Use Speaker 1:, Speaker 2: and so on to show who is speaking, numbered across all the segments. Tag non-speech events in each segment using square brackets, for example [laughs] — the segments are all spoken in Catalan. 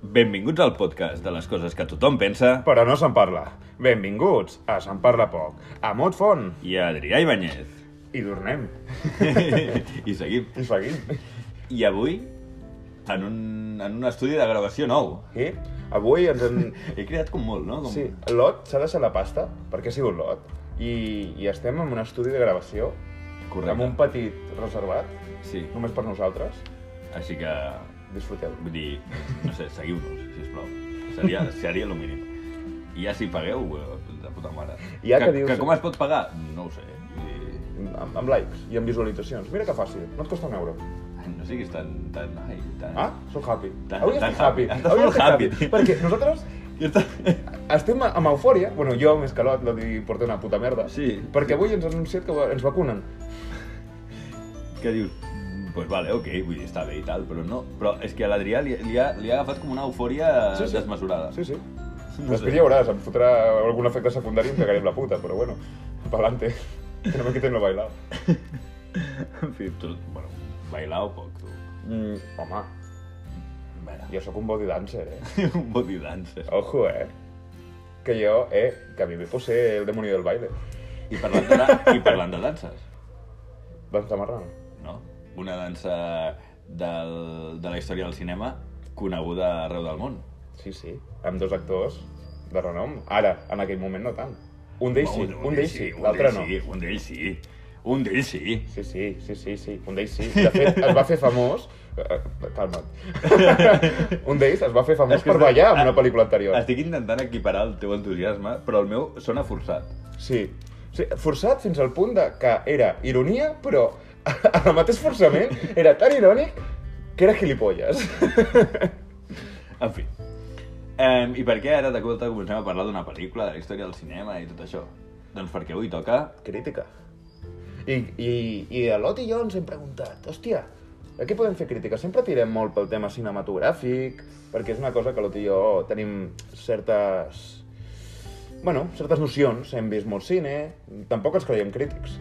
Speaker 1: Benvinguts al podcast de les coses que tothom pensa
Speaker 2: Però no se'n parla. Benvinguts a Se'n parla poc, a Mot Font.
Speaker 1: i Adrià
Speaker 2: [laughs]
Speaker 1: Ibáñez.
Speaker 2: I tornem.
Speaker 1: I seguim.
Speaker 2: I seguim.
Speaker 1: I avui, en un, en un estudi de gravació nou.
Speaker 2: I avui ens hem...
Speaker 1: He creat com molt, no? Com...
Speaker 2: Sí, l'Ot s'ha deixat la pasta, perquè ha sigut l'Ot. I, I estem en un estudi de gravació,
Speaker 1: Correcte.
Speaker 2: amb un petit reservat,
Speaker 1: Sí.
Speaker 2: només per nosaltres.
Speaker 1: Així que,
Speaker 2: Disfruteu.
Speaker 1: vull dir, no sé, seguiu-nos, sisplau. Seria, seria el mínim. I ja si pagueu, eh, de puta mare.
Speaker 2: Ja
Speaker 1: que,
Speaker 2: que dius-
Speaker 1: que com es pot pagar? No ho sé. Vull dir,
Speaker 2: Amb, amb likes i amb visualitzacions. Mira que fàcil, no et costa un euro.
Speaker 1: Ai, no siguis tan... tan... Ai, tan...
Speaker 2: Ah, sóc happy.
Speaker 1: Tan-
Speaker 2: Avui
Speaker 1: tan
Speaker 2: estic happy.
Speaker 1: happy. Estàs
Speaker 2: Avui
Speaker 1: molt
Speaker 2: estic happy.
Speaker 1: happy.
Speaker 2: Perquè nosaltres
Speaker 1: Ja està.
Speaker 2: estem amb eufòria. Bueno, jo més que l'Ot, l'Ot hi porta una puta merda.
Speaker 1: Sí.
Speaker 2: Perquè avui ens han anunciat que va- ens vacunen.
Speaker 1: que dius, "Mm, pues vale, ok, vull dir, està bé i tal, però no. Però és que a l'Adrià li, li, ha, li ha agafat com una eufòria
Speaker 2: Sí, sí.
Speaker 1: desmesurada.
Speaker 2: Sí, sí.
Speaker 1: No
Speaker 2: Després
Speaker 1: sé.
Speaker 2: ja veuràs, em fotrà algun efecte secundari i em cagaré en la puta, però bueno, pa'lante. Que no me quiten lo bailado.
Speaker 1: En fi, tu, bueno, bailar o poc, tu.
Speaker 2: Mm, home,
Speaker 1: Mira,
Speaker 2: jo sóc un body dancer, eh?
Speaker 1: un body dancer.
Speaker 2: Ojo, eh? Que jo, eh, que a mi me posé el demonio del baile.
Speaker 1: I parlant de, da- i parlant de danses,
Speaker 2: Dansa marrana.
Speaker 1: no? Una dansa del, de la història del cinema coneguda arreu del món.
Speaker 2: Sí, sí. Amb dos actors de renom. Ara, en aquell moment no tant. Un d'ells sí, un d'ells sí,
Speaker 1: un
Speaker 2: l'altre
Speaker 1: d'ells
Speaker 2: no.
Speaker 1: Sí, un d'ells sí, un d'ells sí.
Speaker 2: Sí, sí, sí, sí, sí, un d'ells sí. De fet, es va fer famós... eh, Calma't.
Speaker 1: [laughs]
Speaker 2: un d'ells es va fer famós
Speaker 1: És que
Speaker 2: per
Speaker 1: està-
Speaker 2: ballar en una
Speaker 1: ah,
Speaker 2: pel·lícula anterior.
Speaker 1: Estic intentant equiparar el teu entusiasme, però el meu sona forçat.
Speaker 2: Sí. sí. Forçat fins al punt de que era ironia, però [laughs] el mateix forçament era tan irònic que era gilipolles.
Speaker 1: En fi. Um, I per què ara de cop comencem a parlar d'una pel·lícula, de la història del cinema i tot això? Doncs perquè avui toca...
Speaker 2: Crítica. I, i, i a l'Ot i jo ens hem preguntat, hòstia, a què podem fer crítica? Sempre tirem molt pel tema cinematogràfic, perquè és una cosa que l'Ot i jo tenim certes... Bueno, certes nocions, hem vist molt cine, tampoc ens creiem crítics.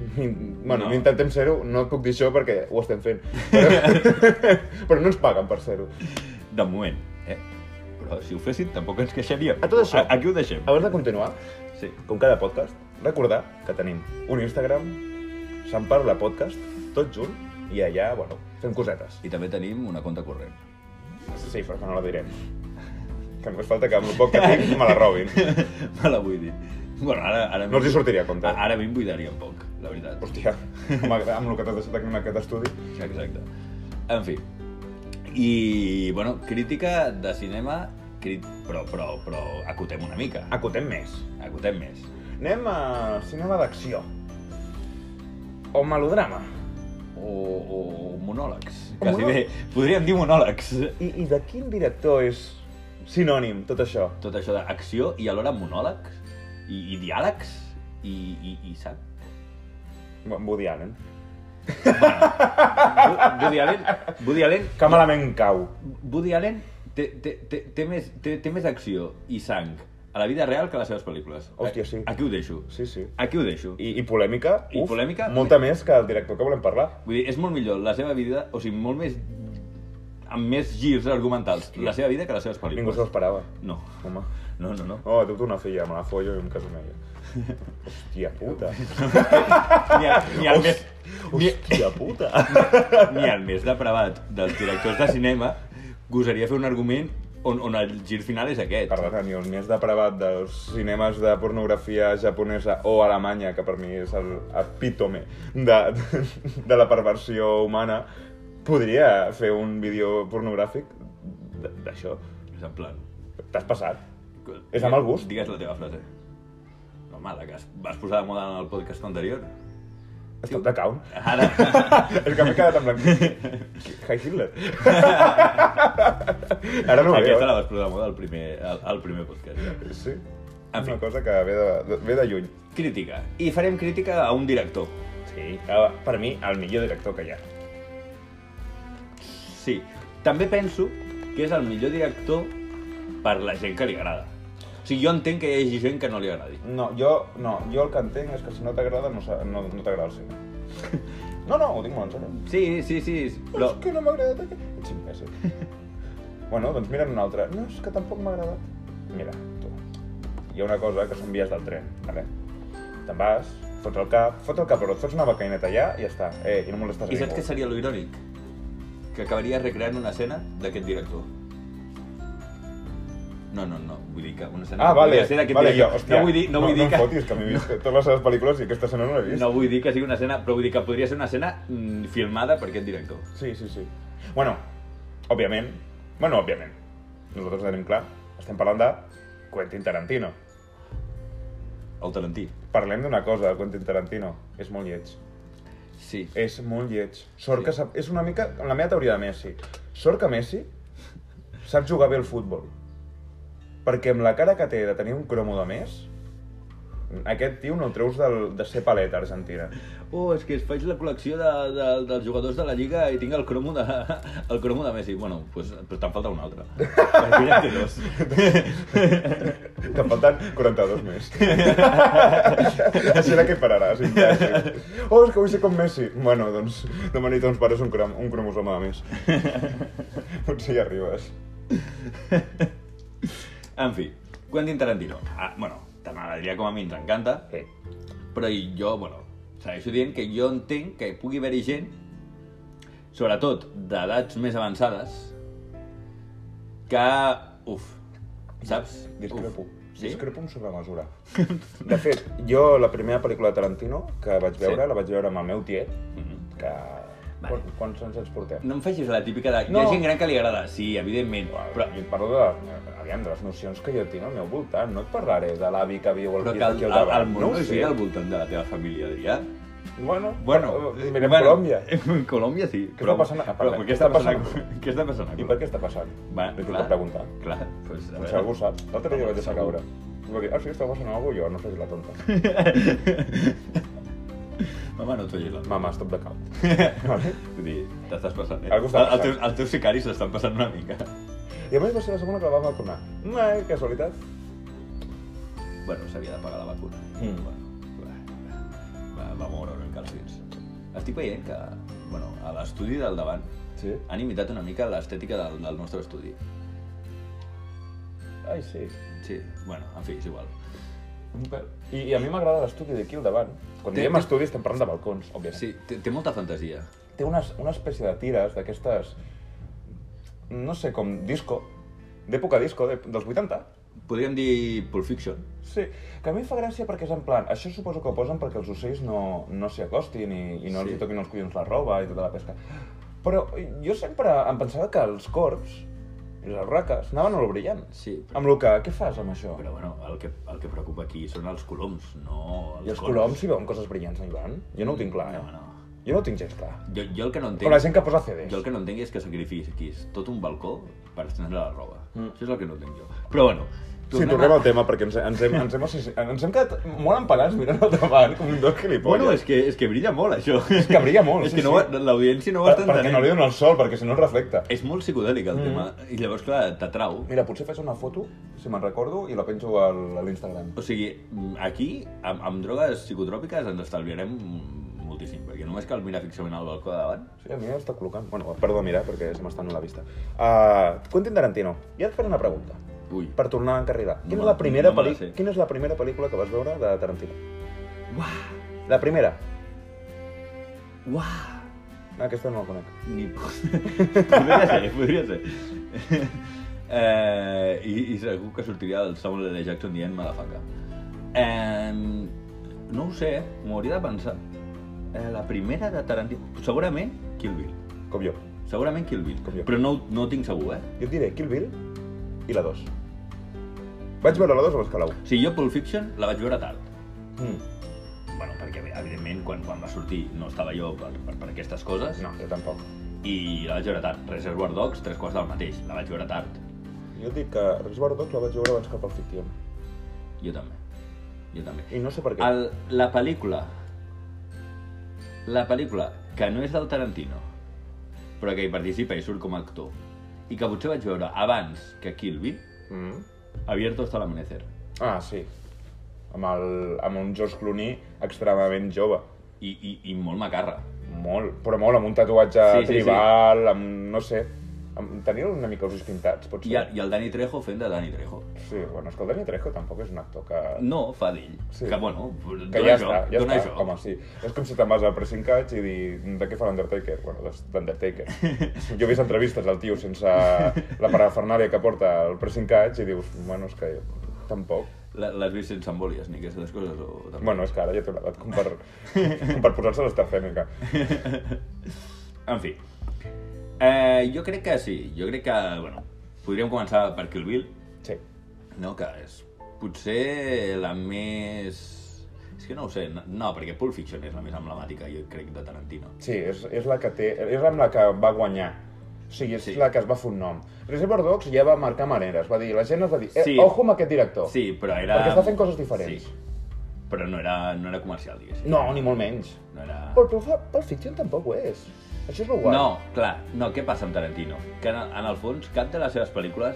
Speaker 1: No.
Speaker 2: Bueno, no. intentem ser-ho, no et puc dir això perquè ho estem fent. Però, [laughs] però no ens paguen per ser-ho.
Speaker 1: De moment, eh? Però si ho fessin tampoc ens queixaríem.
Speaker 2: A tot
Speaker 1: A
Speaker 2: això.
Speaker 1: aquí ho deixem.
Speaker 2: Abans de continuar,
Speaker 1: Sí.
Speaker 2: com cada podcast, recordar que tenim un Instagram, se'n parla podcast, tot junt, i allà, bueno, fem cosetes.
Speaker 1: I també tenim una conta corrent. [laughs]
Speaker 2: Sí, però que no la direm. Que només falta que amb el poc que tinc me la robin.
Speaker 1: Me la vull dir. Bueno, ara... ara
Speaker 2: No els hi sortiria a compte.
Speaker 1: Ara, ara m'invalidaria un poc, la veritat.
Speaker 2: Hòstia, amb, amb el que t'has deixat aquí en aquest estudi.
Speaker 1: Exacte. En fi. I, bueno, crítica de cinema, crit... però, però, però acotem una mica.
Speaker 2: Acotem més.
Speaker 1: Acotem més.
Speaker 2: Anem a cinema d'acció. O melodrama.
Speaker 1: o, o monòlegs.
Speaker 2: O
Speaker 1: Quasi
Speaker 2: monò-
Speaker 1: bé. Podríem dir monòlegs.
Speaker 2: I, I de quin director és sinònim tot això?
Speaker 1: Tot això d'acció i alhora monòlegs i, i diàlegs i, i, i sang.
Speaker 2: Woody Allen.
Speaker 1: Bu- Woody Allen, Woody Allen,
Speaker 2: Que malament cau.
Speaker 1: Woody Allen té, té, té, té, més, té, té més acció i sang a la vida real que a les seves pel·lícules.
Speaker 2: Hòstia, sí.
Speaker 1: Aquí ho deixo.
Speaker 2: Sí, sí.
Speaker 1: Aquí ho deixo.
Speaker 2: I, i polèmica,
Speaker 1: I polèmica?
Speaker 2: molta més que el director que volem parlar.
Speaker 1: Vull dir, és molt millor la seva vida, o sigui, molt més amb més girs argumentals, la seva vida que les seves
Speaker 2: Ningú
Speaker 1: pel·lícules.
Speaker 2: se l'esperava.
Speaker 1: No,
Speaker 2: Home.
Speaker 1: no, no, no.
Speaker 2: Oh, té una filla, me la follo i em caso amb ella. Hòstia
Speaker 1: [laughs]
Speaker 2: puta.
Speaker 1: Ni, a, ni, al més, ni,
Speaker 2: Hòstia puta.
Speaker 1: ni el més depravat dels directors de cinema gosaria fer un argument on, on el gir final és aquest.
Speaker 2: Perdona, ni el més depravat dels cinemes de pornografia japonesa o alemanya, que per mi és l'epítome de, [laughs] de la perversió humana, podria fer un vídeo pornogràfic d- d'això.
Speaker 1: És en plan...
Speaker 2: T'has passat? És de mal gust.
Speaker 1: Digues la teva frase. No, mala, que es- vas posar de moda en el podcast anterior.
Speaker 2: Estàs de caun?
Speaker 1: Ara...
Speaker 2: És que m'he quedat en blanc. [laughs] Hi Hitler. Ara [laughs] no ho veu.
Speaker 1: Aquesta la
Speaker 2: eh?
Speaker 1: vas posar de moda al primer, al, al primer podcast.
Speaker 2: Sí.
Speaker 1: En fi.
Speaker 2: Una cosa que ve de, de- ve de lluny.
Speaker 1: Crítica. I farem crítica a un director.
Speaker 2: Sí. eh, Per mi, el millor director que hi ha.
Speaker 1: Sí. També penso que és el millor director per la gent que li agrada. O sigui, jo entenc que hi hagi gent que no li agradi.
Speaker 2: No, jo, no, jo el que entenc és que si no t'agrada, no, s'ha- no, no t'agrada el cine. [laughs] No, no, ho dic molt en sèrio.
Speaker 1: Sí, sí, sí, però...
Speaker 2: És que no m'ha agradat aquest... Ets imbècil. Bueno, doncs mira'n una altra. No, és que tampoc m'ha agradat. Mira, tu. Hi ha una cosa que són vies del tren, vale? Te'n vas, fots el cap, fots el cap, però et fots una becaineta allà i ja està. Eh, i no molestes a
Speaker 1: I saps
Speaker 2: ningú.
Speaker 1: què seria lo irònic? Que acabaria recreant una escena d'aquest director. No, no, no, vull dir que una escena...
Speaker 2: Ah, vale,
Speaker 1: una escena d'aquest
Speaker 2: vale, jo,
Speaker 1: director.
Speaker 2: hòstia.
Speaker 1: no vull dir, no, vull
Speaker 2: no,
Speaker 1: dir
Speaker 2: em
Speaker 1: que...
Speaker 2: fotis,
Speaker 1: [laughs]
Speaker 2: que m'he vist totes les seves pel·lícules i aquesta escena no l'he vist.
Speaker 1: No vull dir que sigui una escena, però vull dir que podria ser una escena mm, filmada per aquest director.
Speaker 2: Sí, sí, sí. Bueno, òbviament, bueno, òbviament, nosaltres ho tenim clar, estem parlant de Quentin Tarantino.
Speaker 1: El Tarantí.
Speaker 2: Parlem d'una cosa, el Quentin Tarantino. És molt lleig.
Speaker 1: Sí.
Speaker 2: És molt lleig. Sort
Speaker 1: Sí.
Speaker 2: que sap... És una mica la meva teoria de Messi. Sort que Messi sap jugar bé al futbol. Perquè amb la cara que té de tenir un cromo de més, aquest tio no el treus del, de ser paleta argentina.
Speaker 1: Oh, és que es faig la col·lecció de, de, dels jugadors de la Lliga i tinc el cromo de, [laughs] el cromo de Messi. Bueno, pues, però te'n falta un altre. Perquè ja en té dos.
Speaker 2: [laughs] Te'n falten 42 més. Així era que pararàs. imbècil. Oh, és que vull ser com Messi. Bueno, doncs demani a tons pares un, crom, un cromosoma de més. Potser hi arribes.
Speaker 1: En fi, Quentin Tarantino. Ah, bueno, tant a l'Adrià com a mi ens encanta,
Speaker 2: Eh,
Speaker 1: però i jo, bueno, segueixo dient que jo entenc que pugui haver-hi gent, sobretot d'edats més avançades, que... Uf, saps?
Speaker 2: discrepo.
Speaker 1: Uf,
Speaker 2: Sí?
Speaker 1: sí?
Speaker 2: Discrepo en sobre mesura. De fet, jo la primera pel·lícula de Tarantino que vaig veure,
Speaker 1: Sí.
Speaker 2: sí. la vaig veure amb el meu tiet,
Speaker 1: Mhm.
Speaker 2: que...
Speaker 1: Vale.
Speaker 2: Vale. Quants anys ens portem?
Speaker 1: No em facis la típica de... Hi
Speaker 2: No.
Speaker 1: ha gent gran que li agrada, sí, evidentment,
Speaker 2: Però...
Speaker 1: però
Speaker 2: Jo et parlo de, aviam, de les nocions que jo tinc al meu voltant. No et parlaré de l'avi que viu al
Speaker 1: Però
Speaker 2: pis
Speaker 1: que el,
Speaker 2: d'aquí al
Speaker 1: el, el,
Speaker 2: davant.
Speaker 1: món
Speaker 2: no
Speaker 1: no,
Speaker 2: ho sé.
Speaker 1: gira al voltant de la teva família, Adrià.
Speaker 2: Bueno,
Speaker 1: Bueno,
Speaker 2: eh, mirem
Speaker 1: bueno,
Speaker 2: Colòmbia.
Speaker 1: [laughs] En Colòmbia sí.
Speaker 2: Què està passant a-
Speaker 1: però,
Speaker 2: parlem,
Speaker 1: què està
Speaker 2: què està
Speaker 1: passant?
Speaker 2: passant?
Speaker 1: a- Què està passant? a
Speaker 2: I per què està passant?
Speaker 1: Eh, Va,
Speaker 2: Li
Speaker 1: clar.
Speaker 2: puc preguntar.
Speaker 1: Clar, pues, a
Speaker 2: Potser algú sap. L'altre dia
Speaker 1: Home,
Speaker 2: vaig deixar
Speaker 1: segur.
Speaker 2: caure. I va dir, ah, sí, està passant alguna cosa, jo no faig la
Speaker 1: [laughs]
Speaker 2: tonta.
Speaker 1: Mama, no t'ho he llegit.
Speaker 2: Mama, stop de cap. [laughs] Vale?
Speaker 1: Vull dir, t'estàs passant, eh?
Speaker 2: Algú
Speaker 1: El-
Speaker 2: està
Speaker 1: el
Speaker 2: passant.
Speaker 1: teu- Els teus sicaris s'estan passant una mica.
Speaker 2: I a més va ser la segona que la vam vacunar. No, eh, casualitat.
Speaker 1: Bueno, s'havia de pagar la vacuna.
Speaker 2: Mm.
Speaker 1: Bueno, va, va, va moure en calcins. Estic veient que, bueno, a l'estudi del davant
Speaker 2: Sí?
Speaker 1: han imitat una mica l'estètica del, del nostre estudi.
Speaker 2: Ai, sí.
Speaker 1: Sí, bueno, en fi, és igual.
Speaker 2: Un pèl. I, I a mi m'agrada l'estudi d'aquí al davant. Quan
Speaker 1: Té-
Speaker 2: diem
Speaker 1: té-
Speaker 2: estudi estem parlant de balcons, òbviament.
Speaker 1: Sí, té, té molta fantasia.
Speaker 2: Té unes, una espècie de tires d'aquestes... No sé, com disco. D'època disco, de, dels 80.
Speaker 1: Podríem dir Pulp Fiction.
Speaker 2: Sí, que a mi em fa gràcia perquè és en plan... Això suposo que ho posen perquè els ocells no, no s'hi acostin i, i
Speaker 1: Sí.
Speaker 2: no sí. els hi toquin els collons la roba i tota la pesca. Però jo sempre em pensava que els corbs i les raques anaven a lo brillant.
Speaker 1: Sí.
Speaker 2: Amb el que... Què fas amb això?
Speaker 1: Però bueno, el que, el que preocupa aquí són els coloms, no els
Speaker 2: I els coloms hi veuen coses brillants, no hi van? Jo no ho tinc clar, eh?
Speaker 1: No, no.
Speaker 2: Jo no ho tinc gens clar.
Speaker 1: Jo, jo el que no
Speaker 2: Com la
Speaker 1: entenc...
Speaker 2: gent que posa CDs.
Speaker 1: Jo el que no entenc és que sacrifiquis tot un balcó per estendre la roba.
Speaker 2: Mm.
Speaker 1: Això és el que no entenc jo. Però bueno,
Speaker 2: Sí, toquem el tema perquè ens, ens, hem, ens, hem, associ- ens hem quedat molt empalats mirant al davant com dos gilipolles.
Speaker 1: Bueno, és que, és que brilla molt, això. És
Speaker 2: que brilla molt,
Speaker 1: [laughs] és
Speaker 2: sí,
Speaker 1: que no,
Speaker 2: sí.
Speaker 1: ho- l'audiència no ho
Speaker 2: Per,
Speaker 1: està
Speaker 2: perquè no li Mm.
Speaker 1: entenent.
Speaker 2: dona el sol, perquè si no es reflecta.
Speaker 1: és molt psicodèlic, el tema. I llavors, clar, t'atrau.
Speaker 2: Mira, potser faig una foto, si me'n recordo, i la penjo al, a l'Instagram.
Speaker 1: O sigui, aquí, amb, amb drogues psicotròpiques, ens estalviarem moltíssim, perquè només cal mirar fixament al balcó de davant.
Speaker 2: Sí, a mi està col·locant... Bueno, perdó, mira, perquè se m'està anant la vista. Uh, Quentin Tarantino, ja et faré una pregunta.
Speaker 1: Ui.
Speaker 2: Per tornar a encarrilar. Quina,
Speaker 1: No
Speaker 2: és la
Speaker 1: me-
Speaker 2: primera
Speaker 1: no me la sé.
Speaker 2: peli- Quina és la primera pel·lícula que vas veure de Tarantino?
Speaker 1: Uah,
Speaker 2: La primera. Ah,
Speaker 1: uah.
Speaker 2: Aquesta no la conec.
Speaker 1: [laughs] Ni... podria ser, podria ser. [laughs] eh, i, I segur que sortiria del Samuel L. Jackson dient Madafaka. Eh, no ho sé, m'ho hauria de pensar. Eh, la primera de Tarantino... Segurament Kill Bill.
Speaker 2: Com jo.
Speaker 1: Segurament Kill Bill.
Speaker 2: Com jo.
Speaker 1: Però no, ho- no ho tinc segur, eh?
Speaker 2: Jo et diré Kill Bill i la 2. Vaig veure la 2 abans que la 1.
Speaker 1: O sigui, jo Pulp Fiction la vaig veure tard.
Speaker 2: Mm.
Speaker 1: Bueno, perquè evidentment quan, quan va sortir no estava jo per, per, per aquestes coses
Speaker 2: No, jo tampoc.
Speaker 1: i la vaig veure tard. Reservoir Dogs, tres quarts del mateix, la vaig veure tard.
Speaker 2: Jo et dic que Reservoir Dogs la vaig veure abans que Pulp Fiction.
Speaker 1: Jo també. Jo també.
Speaker 2: I no sé per què.
Speaker 1: El, la pel·lícula la pel·lícula que no és del Tarantino però que hi participa i surt com a actor i que potser vaig veure abans que Kill Bill
Speaker 2: Mm.
Speaker 1: Abierto hasta el amanecer
Speaker 2: Ah, sí. Amb, el, amb un George Clooney extremadament jove.
Speaker 1: i, i, i molt macarra
Speaker 2: Molt, però molt, amb un tatuatge
Speaker 1: Sí,
Speaker 2: sí,
Speaker 1: sí,
Speaker 2: sí, tribal, amb... no sé. Em- Tenien una mica els ulls pintats, potser.
Speaker 1: I, el- I el Dani Trejo fent de Dani Trejo.
Speaker 2: Sí, bueno, és que el Dani Trejo tampoc és un actor que...
Speaker 1: No, fa d'ell.
Speaker 2: Sí.
Speaker 1: Que, bueno,
Speaker 2: Que
Speaker 1: dona
Speaker 2: ja
Speaker 1: joc,
Speaker 2: està, ja
Speaker 1: dona
Speaker 2: està,
Speaker 1: joc.
Speaker 2: home, sí. És com si te'n vas al Pressing Catch i dir, de què fa l'Undertaker? Bueno, doncs,
Speaker 1: [laughs]
Speaker 2: d'Undertaker. jo he vist entrevistes al tio sense la parafernàlia que porta el Pressing Catch i dius, bueno, és que tampoc.
Speaker 1: La- L'has vist sense embòlies ni aquestes coses? O... també?
Speaker 2: Bueno, és que ara ja té una edat com per, com per posar-se l'estafènica.
Speaker 1: En fi. Eh, jo crec que sí. Jo crec que, bueno, podríem començar per Kill Bill,
Speaker 2: Sí.
Speaker 1: no? Que és potser la més... És que no ho sé. no- No, perquè Pulp Fiction és la més emblemàtica, jo crec, de Tarantino.
Speaker 2: Sí, és, és la que té... És amb la que va guanyar. O sigui, és
Speaker 1: Sí.
Speaker 2: sí. la que es va fer un nom. Reservoir Dogs ja va marcar maneres. Va dir, la gent es va dir, eh,
Speaker 1: Sí.
Speaker 2: ojo amb aquest director.
Speaker 1: Sí, però era...
Speaker 2: Perquè està fent coses diferents.
Speaker 1: Sí. Però no era, no era comercial, diguéssim.
Speaker 2: No, ni molt menys.
Speaker 1: No era...
Speaker 2: Però Pulp, Pulp Fiction tampoc ho és. Això és el guai.
Speaker 1: No, clar, no, què passa amb Tarantino? Que en, en el fons cap de les seves pel·lícules,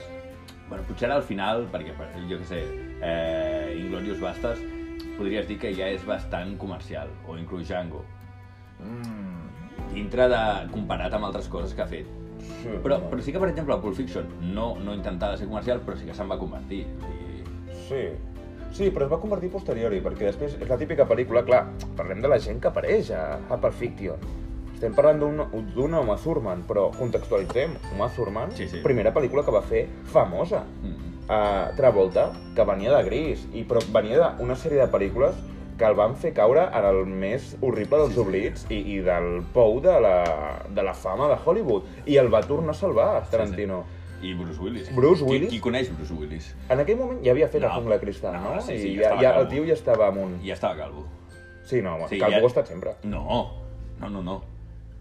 Speaker 1: bueno, potser ara al final, perquè per, jo què sé, eh, Inglorious Bastes, podries dir que ja és bastant comercial, o inclús Django,
Speaker 2: Mm,
Speaker 1: dintre de, comparat amb altres coses que ha fet.
Speaker 2: sí,
Speaker 1: Però, però sí que, per exemple, Pulp Fiction no, no intentava ser comercial, però sí que se'n va convertir. O sigui,
Speaker 2: Sí. Sí, però es va convertir posteriori, perquè després és la típica pel·lícula, clar, parlem de la gent que apareix a, a Pulp Fiction. Estem parlant d'un- d'una Uma Thurman, però contextualitzem, Uma Thurman,
Speaker 1: Sí, sí.
Speaker 2: primera pel·lícula que va fer famosa.
Speaker 1: mm,
Speaker 2: a Travolta, que venia de gris, i però venia d'una sèrie de pel·lícules que el van fer caure en el més horrible dels oblits i, i del pou de la, de la fama de Hollywood. I el va tornar a salvar, Tarantino.
Speaker 1: I Bruce Willis.
Speaker 2: Bruce
Speaker 1: Qui-
Speaker 2: Willis?
Speaker 1: Qui, coneix Bruce Willis?
Speaker 2: En aquell moment ja havia fet
Speaker 1: No.
Speaker 2: la jungla de cristal,
Speaker 1: No,
Speaker 2: no?
Speaker 1: sí, sí,
Speaker 2: I
Speaker 1: ja
Speaker 2: ja,
Speaker 1: estava
Speaker 2: ja, el
Speaker 1: calvo.
Speaker 2: tio ja estava amunt.
Speaker 1: I ja estava calvo.
Speaker 2: Sí, no,
Speaker 1: Sí,
Speaker 2: sí, calvo
Speaker 1: ja-
Speaker 2: ja... ha estat sempre.
Speaker 1: No, no, no, no.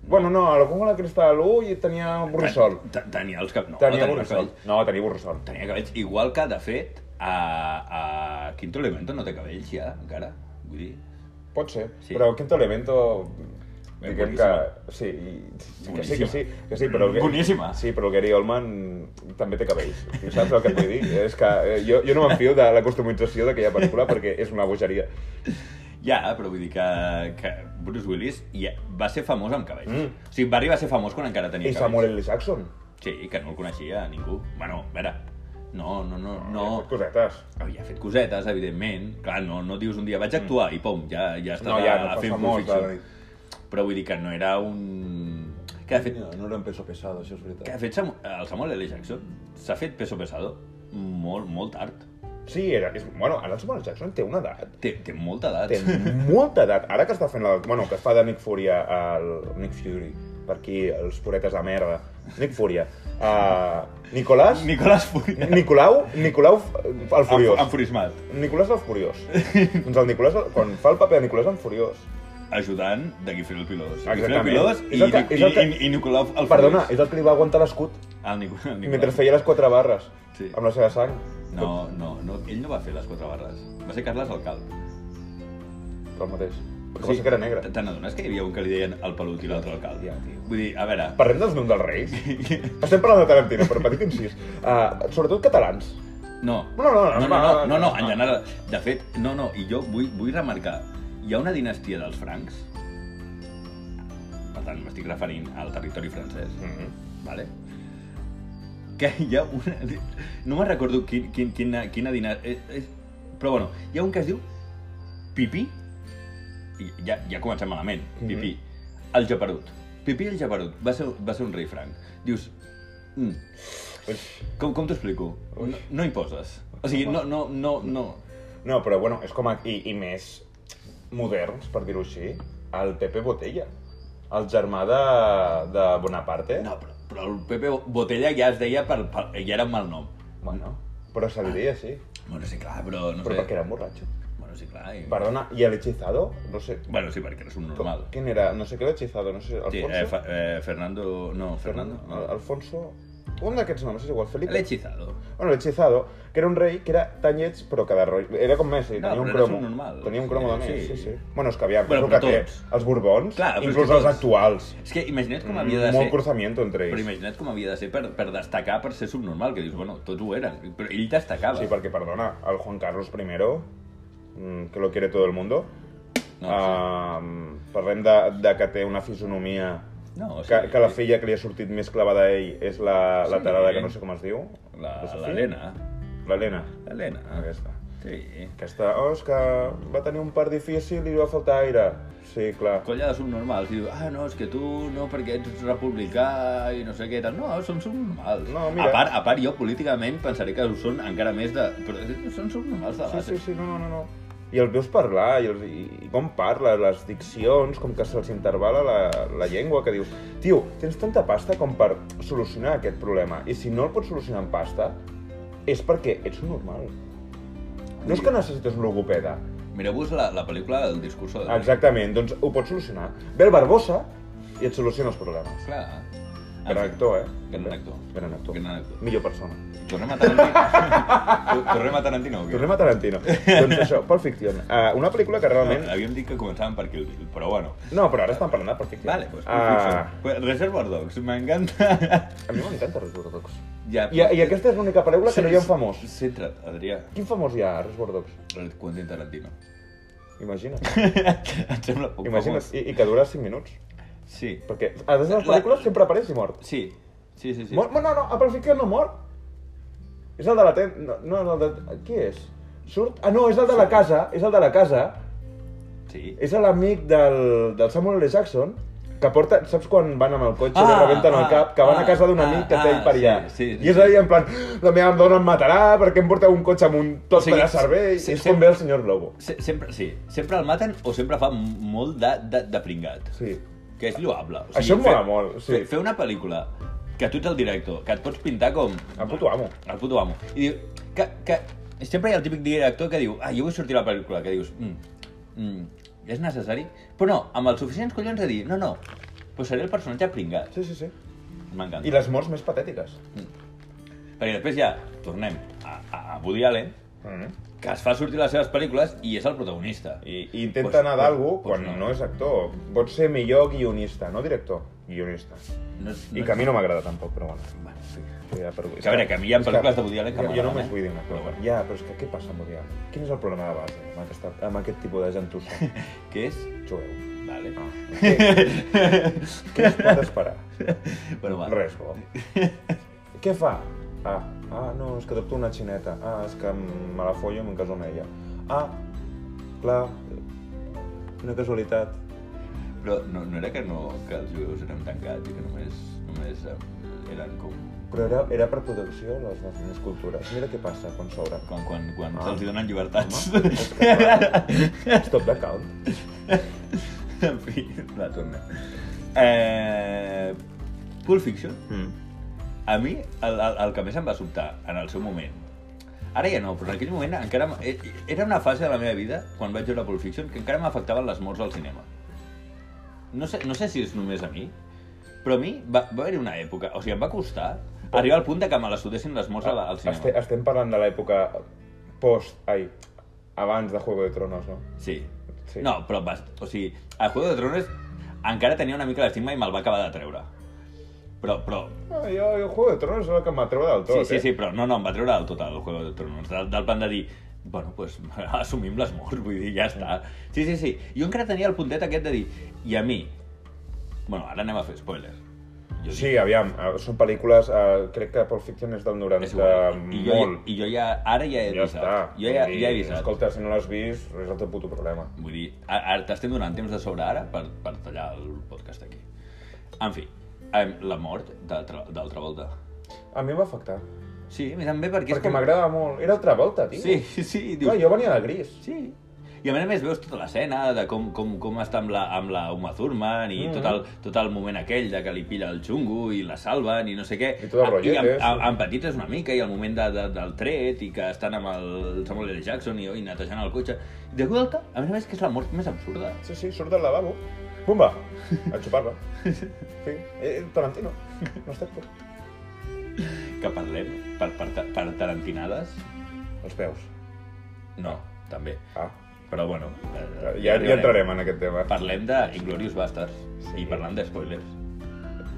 Speaker 2: Bueno, no, a la jungla de cristal 1 i tenia borrissol.
Speaker 1: Ten- ten- Tenia els cap... No,
Speaker 2: Tenia
Speaker 1: no
Speaker 2: borrissol. No, tenia borrissol.
Speaker 1: Tenia cabells, igual que, de fet, a, a Quinto Elemento no té cabells ja, encara, vull dir...
Speaker 2: Pot ser,
Speaker 1: Sí.
Speaker 2: sí. però Quinto Elemento...
Speaker 1: Ben
Speaker 2: Diguem que...
Speaker 1: boníssima.
Speaker 2: Sí, i- que sí,
Speaker 1: Boníssima.
Speaker 2: que sí, que sí, però... el-
Speaker 1: Boníssima.
Speaker 2: Ah, Sí, però el Gary Oldman també té cabells. I saps el que et vull dir? És que eh, jo, jo no m'enfio de la customització d'aquella pel·lícula perquè és una bogeria.
Speaker 1: Ja, però vull dir que, que Bruce Willis ja, va ser famós amb cabells.
Speaker 2: Mm.
Speaker 1: Mm. O sigui, va arribar a ser famós quan encara tenia
Speaker 2: I
Speaker 1: cabells.
Speaker 2: Samuel L. Jackson.
Speaker 1: Sí, que no el coneixia ningú. Bueno, a veure, no, no, no, no...
Speaker 2: Hi ha fet Cosetes.
Speaker 1: Havia fet cosetes, evidentment. Clar, no, no dius un dia vaig actuar i pom, ja, ja estava
Speaker 2: Mm. No, ja, no fa
Speaker 1: fent
Speaker 2: famós.
Speaker 1: Pulp
Speaker 2: de-
Speaker 1: Fiction. Però vull dir que no era un... Que de fet,
Speaker 3: No, no era un peso pesado, això és
Speaker 1: que de
Speaker 3: veritat.
Speaker 1: fet Samu- el Samuel L. Jackson s'ha fet peso pesado molt, molt tard.
Speaker 2: Sí, era, és, bueno, ara el Samuel L. Jackson té una edat.
Speaker 1: Té, té molta edat.
Speaker 2: Té
Speaker 1: [laughs]
Speaker 2: molta edat. Ara que està fent la... Bueno, que fa de Nick Fury al... Nick Fury. Per aquí, els puretes de merda. Nick Fury. Uh, Nicolás...
Speaker 1: Nicolás Furia.
Speaker 2: Nicolau, Nicolau f- el Furiós.
Speaker 1: Enfurismat.
Speaker 2: Nicolás el Furiós. doncs el Nicolás, quan fa el paper de Nicolás el Furiós.
Speaker 1: Ajudant de Guifré el Pilós. Guifré el
Speaker 2: Exactament.
Speaker 1: Pilós i,
Speaker 2: És el que-
Speaker 1: Nic-
Speaker 2: és el que-
Speaker 1: i, i, i Nicolau el Furiós.
Speaker 2: Perdona, és el que li va aguantar l'escut
Speaker 1: El Nic- el Nicolau.
Speaker 2: mentre feia les quatre barres
Speaker 1: Sí.
Speaker 2: amb la seva sang.
Speaker 1: No, no, no, ell no va fer les quatre barres. Va ser Carles el Calb.
Speaker 2: El mateix. Perquè sí. que era negre.
Speaker 1: Te te n'adones que hi havia un que li deien el pelut i l'altre el Calb?
Speaker 2: Ja, tio.
Speaker 1: Vull dir, a veure...
Speaker 2: Parlem dels noms
Speaker 1: [laughs]
Speaker 2: dels reis. Estem parlant de Tarantino, però petit incís. Uh, sobretot catalans.
Speaker 1: No.
Speaker 2: No, no, no,
Speaker 1: no, no, no,
Speaker 2: va,
Speaker 1: no, no,
Speaker 2: va.
Speaker 1: en general. De fet, no, no, i jo vull, vull remarcar, hi ha una dinastia dels francs, per tant, m'estic referint al territori francès,
Speaker 2: Mm -hmm.
Speaker 1: vale? que hi ha una... No me'n recordo quin, quin, quina, quina dinastia... És, però bueno, hi ha un que es diu Pipí, i ja, ja comencem malament,
Speaker 2: Mhm.
Speaker 1: Pipí, el Japerut. Pipí el Japerut, va ser, va ser un rei franc. Dius, mm, com, com t'ho explico? No, no hi poses. O sigui, no, no, no, no.
Speaker 2: No, però bueno, és com a... I, i més moderns, per dir-ho així, el Pepe Botella. El germà de, de Bonaparte.
Speaker 1: No, però, però el Pepe Botella ja es deia per, per ja era un mal nom.
Speaker 2: Bueno, però se li deia així.
Speaker 1: Bueno, sí, clar, però Ah. no
Speaker 2: Però
Speaker 1: sé.
Speaker 2: perquè era un borratxo.
Speaker 1: Bueno, sí, clar. I...
Speaker 2: Perdona, i el hechizado? No sé...
Speaker 1: Bueno, sí, perquè eres un normal.
Speaker 2: Quin era? No sé què era hechizado, no sé... Alfonso?
Speaker 1: Sí, eh, fa, eh, Fernando... No, Fernando...
Speaker 2: Al-
Speaker 1: No.
Speaker 2: Alfonso... Un d'aquests noms, és igual, Felipe...
Speaker 1: El hechizado.
Speaker 2: Bueno, el hechizado, que era un rei que era tan lleig, però que de rei... Era com Messi,
Speaker 1: No,
Speaker 2: tenia
Speaker 1: però
Speaker 2: un
Speaker 1: era
Speaker 2: cromo.
Speaker 1: subnormal.
Speaker 2: Tenia un cromo de
Speaker 1: Sí,
Speaker 2: més, sí,
Speaker 1: sí.
Speaker 2: sí. Bueno, és que aviam,
Speaker 1: Bueno,
Speaker 2: és el
Speaker 1: però
Speaker 2: que té
Speaker 1: tots.
Speaker 2: els Borbons,
Speaker 1: Clar, però és
Speaker 2: inclús
Speaker 1: que
Speaker 2: els
Speaker 1: tots.
Speaker 2: actuals.
Speaker 1: És que imagina't com havia de
Speaker 2: Mm, Molt
Speaker 1: ser...
Speaker 2: cruzamiento entre
Speaker 1: Però
Speaker 2: ells.
Speaker 1: imagina't com havia de ser per, per destacar, per ser subnormal, que dius, bueno, tots ho eren, però ell destacava.
Speaker 2: Sí, perquè, perdona, el Juan Carlos I, mm, que lo quiere todo el mundo,
Speaker 1: No,
Speaker 2: no, parlem de, de que té una fisonomia
Speaker 1: No,
Speaker 2: Que, que la filla que li ha sortit més clavada a ell és la, la
Speaker 1: Sí.
Speaker 2: tarada que no sé com es diu.
Speaker 1: La-
Speaker 2: Sofia?
Speaker 1: L'Helena.
Speaker 2: L'Helena.
Speaker 1: L'Helena.
Speaker 2: Aquesta.
Speaker 1: Sí.
Speaker 2: Aquesta, oh, és que va tenir un part difícil i li va faltar aire. Sí, clar.
Speaker 1: Colla de subnormals. Diu, ah, no, és que tu no, perquè ets republicà i no sé què i tal. No, són subnormals.
Speaker 2: No, mira.
Speaker 1: A part, a part jo políticament pensaré que ho són encara més de... Però són subnormals de
Speaker 2: Sí,
Speaker 1: base.
Speaker 2: sí, sí, no, no, no. no. I els veus parlar, i, els, i, i com parla, les diccions, com que se'ls intervala la, la llengua, que dius, tio, tens tanta pasta com per solucionar aquest problema, i si no el pots solucionar amb pasta, és perquè ets un normal. No és que necessites un logopeda.
Speaker 1: Mireu-vos la, la pel·lícula del discurso de...
Speaker 2: Exactament, doncs ho pots solucionar. Ve el Barbosa i et soluciona els problemes.
Speaker 1: Clar.
Speaker 2: Gran actor, eh?
Speaker 1: Gran actor.
Speaker 2: Gran actor.
Speaker 1: Gran actor.
Speaker 2: Millor persona.
Speaker 1: Tornem a
Speaker 2: [laughs]
Speaker 1: Tarantino. Tornem a Tarantino. o què?
Speaker 2: Tornem a
Speaker 1: [laughs]
Speaker 2: Tarantino. doncs això, Pulp Fiction. Uh, una pel·lícula que realment...
Speaker 1: No, Eh, havíem dit que començàvem per Kill Bill, però bueno.
Speaker 2: No, però ara estan parlant de Pulp Fiction.
Speaker 1: Vale, pues,
Speaker 2: Ah,
Speaker 1: ah. pues Reservoir Dogs, m'encanta.
Speaker 2: A mi m'encanta Reservoir Dogs.
Speaker 1: ja,
Speaker 2: I, I aquesta és l'única pel·lícula que no hi ha un
Speaker 1: Sí,
Speaker 2: famós.
Speaker 1: Centra't, Adrià.
Speaker 2: Quin famós hi ha a Reservoir Dogs?
Speaker 1: El Quentin Tarantino. [laughs]
Speaker 2: Imagina't.
Speaker 1: Et sembla poc
Speaker 2: Imagina't.
Speaker 1: famós?
Speaker 2: I, I que dura 5 minuts.
Speaker 1: Sí.
Speaker 2: Perquè a les seves pel·lícules sempre apareix i mor.
Speaker 1: Sí. Sí, sí, sí.
Speaker 2: Sí. Mor, no, no, a Pulp Fiction no mor. És el de la ten... No, no, és el de... Qui és? Surt... Ah, no, és el de la casa. És el de la casa.
Speaker 1: Sí.
Speaker 2: És l'amic del, del Samuel L. Jackson que porta, saps quan van amb el cotxe ah, i
Speaker 1: Ah,
Speaker 2: rebenten el
Speaker 1: ah,
Speaker 2: cap, que van
Speaker 1: ah,
Speaker 2: a casa d'un
Speaker 1: ah,
Speaker 2: amic que té
Speaker 1: ah,
Speaker 2: ell per allà.
Speaker 1: sí, sí, sí.
Speaker 2: I és allà en plan, la meva dona em matarà perquè em porteu un cotxe amb un
Speaker 1: O
Speaker 2: tot
Speaker 1: sigui,
Speaker 2: per a cervell.
Speaker 1: sí,
Speaker 2: Sí, és
Speaker 1: sí.
Speaker 2: com ve el senyor Globo.
Speaker 1: Se sempre, sí. Sempre el maten o sempre fa molt de, de, de pringat.
Speaker 2: Sí.
Speaker 1: Que és lloable. O
Speaker 2: Això em mola molt, sí.
Speaker 1: Fer, fer una pel·lícula que tu ets el director, que et pots pintar com...
Speaker 2: El puto amo.
Speaker 1: El puto amo. I diu... Que, que sempre hi ha el típic director que diu ah, jo vull sortir a la pel·lícula, que dius... Mm, mm, és necessari? Però no, amb els suficients collons de dir no, no, doncs seré el personatge pringat.
Speaker 2: Sí, sí, sí. I
Speaker 1: M'encanta.
Speaker 2: les morts més patètiques.
Speaker 1: Perquè després ja tornem a, a, a Woody Allen,
Speaker 2: Mm.
Speaker 1: que es fa sortir les seves pel·lícules i és el protagonista.
Speaker 2: I, i intenta pues, anar d'algú pues, quan no. no és actor. Pot ser millor guionista, no director. Guionista.
Speaker 1: no,
Speaker 2: I que a mi no m'agrada tampoc, però bueno.
Speaker 1: Bueno,
Speaker 2: Sí, sí, ja per...
Speaker 1: Que a veure, que a mi hi ha
Speaker 2: És
Speaker 1: pel·lícules de Woody Allen que
Speaker 2: jo- Jo
Speaker 1: m'agraden,
Speaker 2: només
Speaker 1: eh?
Speaker 2: vull dir una
Speaker 1: Però
Speaker 2: cosa.
Speaker 1: bueno.
Speaker 2: Ja, però és que què passa amb Woody Allen? Quin és el problema de base amb, aquesta, amb aquest tipus de gentussa?
Speaker 1: Què és?
Speaker 2: Jueu.
Speaker 1: Vale.
Speaker 2: Ah, ok. què es pot esperar?
Speaker 1: Bueno, va.
Speaker 2: Res, bo. què fa? Ah, ah, no, és que adopto una xineta. Ah, és que me la follo i me'n caso amb ella. Ah, clar, una casualitat.
Speaker 1: Però no, no era que, no, que els jueus eren tancats i que només, només eh, eren com...
Speaker 2: Però era, era per producció, les nostres cultures. Mira què passa quan
Speaker 1: [laughs]
Speaker 2: s'obren.
Speaker 1: Quan, quan, quan
Speaker 2: Ah.
Speaker 1: se'ls hi donen llibertats.
Speaker 2: Home, és que clar. Stop the count.
Speaker 1: [laughs] en fi, la tornem. Eh, Pulp Fiction,
Speaker 2: Mm.
Speaker 1: a mi el, el, el que més em va sobtar en el seu moment, ara ja no, però en aquell moment encara... m- e- Era una fase de la meva vida, quan vaig veure Pulp Fiction, que encara m'afectaven les morts al cinema. No sé, no sé si és només a mi, però a mi va, va haver una època... O sigui, em va costar arribar al punt de que me les sudessin les morts al, al cinema.
Speaker 2: Ah, Este, estem parlant de l'època post... Ai, abans de Juego de Tronos, no?
Speaker 1: Sí.
Speaker 2: Sí.
Speaker 1: No, però vas... O sigui, a Juego de Tronos encara tenia una mica l'estigma i me'l va acabar de treure. Però, però...
Speaker 2: Ah, jo, jo Juego de Tronos és el que m'atreu del
Speaker 1: Sí,
Speaker 2: tot,
Speaker 1: sí,
Speaker 2: eh?
Speaker 1: sí, però no, no, em va treure del tot el Juego de Tronos. Del, del plan de dir, bueno, pues, [laughs] assumim les morts, vull dir, ja està. Sí, sí, sí. Jo encara tenia el puntet aquest de dir, i a mi... Bueno, ara anem a fer spoiler. Jo
Speaker 2: Sí, aviam, eh, són pel·lícules... Eh, crec que Pulp Fiction és del 90
Speaker 1: és igual. I jo,
Speaker 2: molt.
Speaker 1: I jo ja, ara ja he
Speaker 2: ja
Speaker 1: avisat.
Speaker 2: està.
Speaker 1: Jo ja,
Speaker 2: Vull dir,
Speaker 1: ja he avisat.
Speaker 2: Escolta, si no l'has vist, és el teu puto problema.
Speaker 1: Vull dir, ara, ara t'estem donant temps de sobre ara per, per tallar el podcast aquí. En fi, em, la mort d'altra d'altra volta.
Speaker 2: A mi em va afectar.
Speaker 1: Sí, a mi també perquè,
Speaker 2: perquè m'agradava molt. Era altra volta, tio.
Speaker 1: Sí, [laughs] sí, dius...
Speaker 2: Clar, jo venia de gris.
Speaker 1: Sí. I a més a més veus tota l'escena de com, com, com està amb la, amb la Uma Thurman i
Speaker 2: Mhm.
Speaker 1: tot, el, tot el moment aquell de que li pilla el xungo i la salven i no sé què.
Speaker 2: I tot el rotllet,
Speaker 1: I amb,
Speaker 2: eh, sí.
Speaker 1: amb, amb petites una mica i el moment de, de, del tret i que estan amb el Samuel L. Jackson i, i netejant el cotxe. I de volta, a més a més, que és la mort més absurda.
Speaker 2: Sí, sí, surt del lavabo. Pumba!
Speaker 1: [laughs]
Speaker 2: A xupar-la. Sí, eh, Tarantino. No estàs tu.
Speaker 1: que parlem per, per, ta- per tarantinades?
Speaker 2: Els peus.
Speaker 1: No, també.
Speaker 2: Ah,
Speaker 1: Però bueno...
Speaker 2: ja,
Speaker 1: eh,
Speaker 2: ja
Speaker 1: arribarem.
Speaker 2: entrarem en aquest tema.
Speaker 1: Parlem de Inglorious Bastards
Speaker 2: Sí.
Speaker 1: i parlant de spoilers.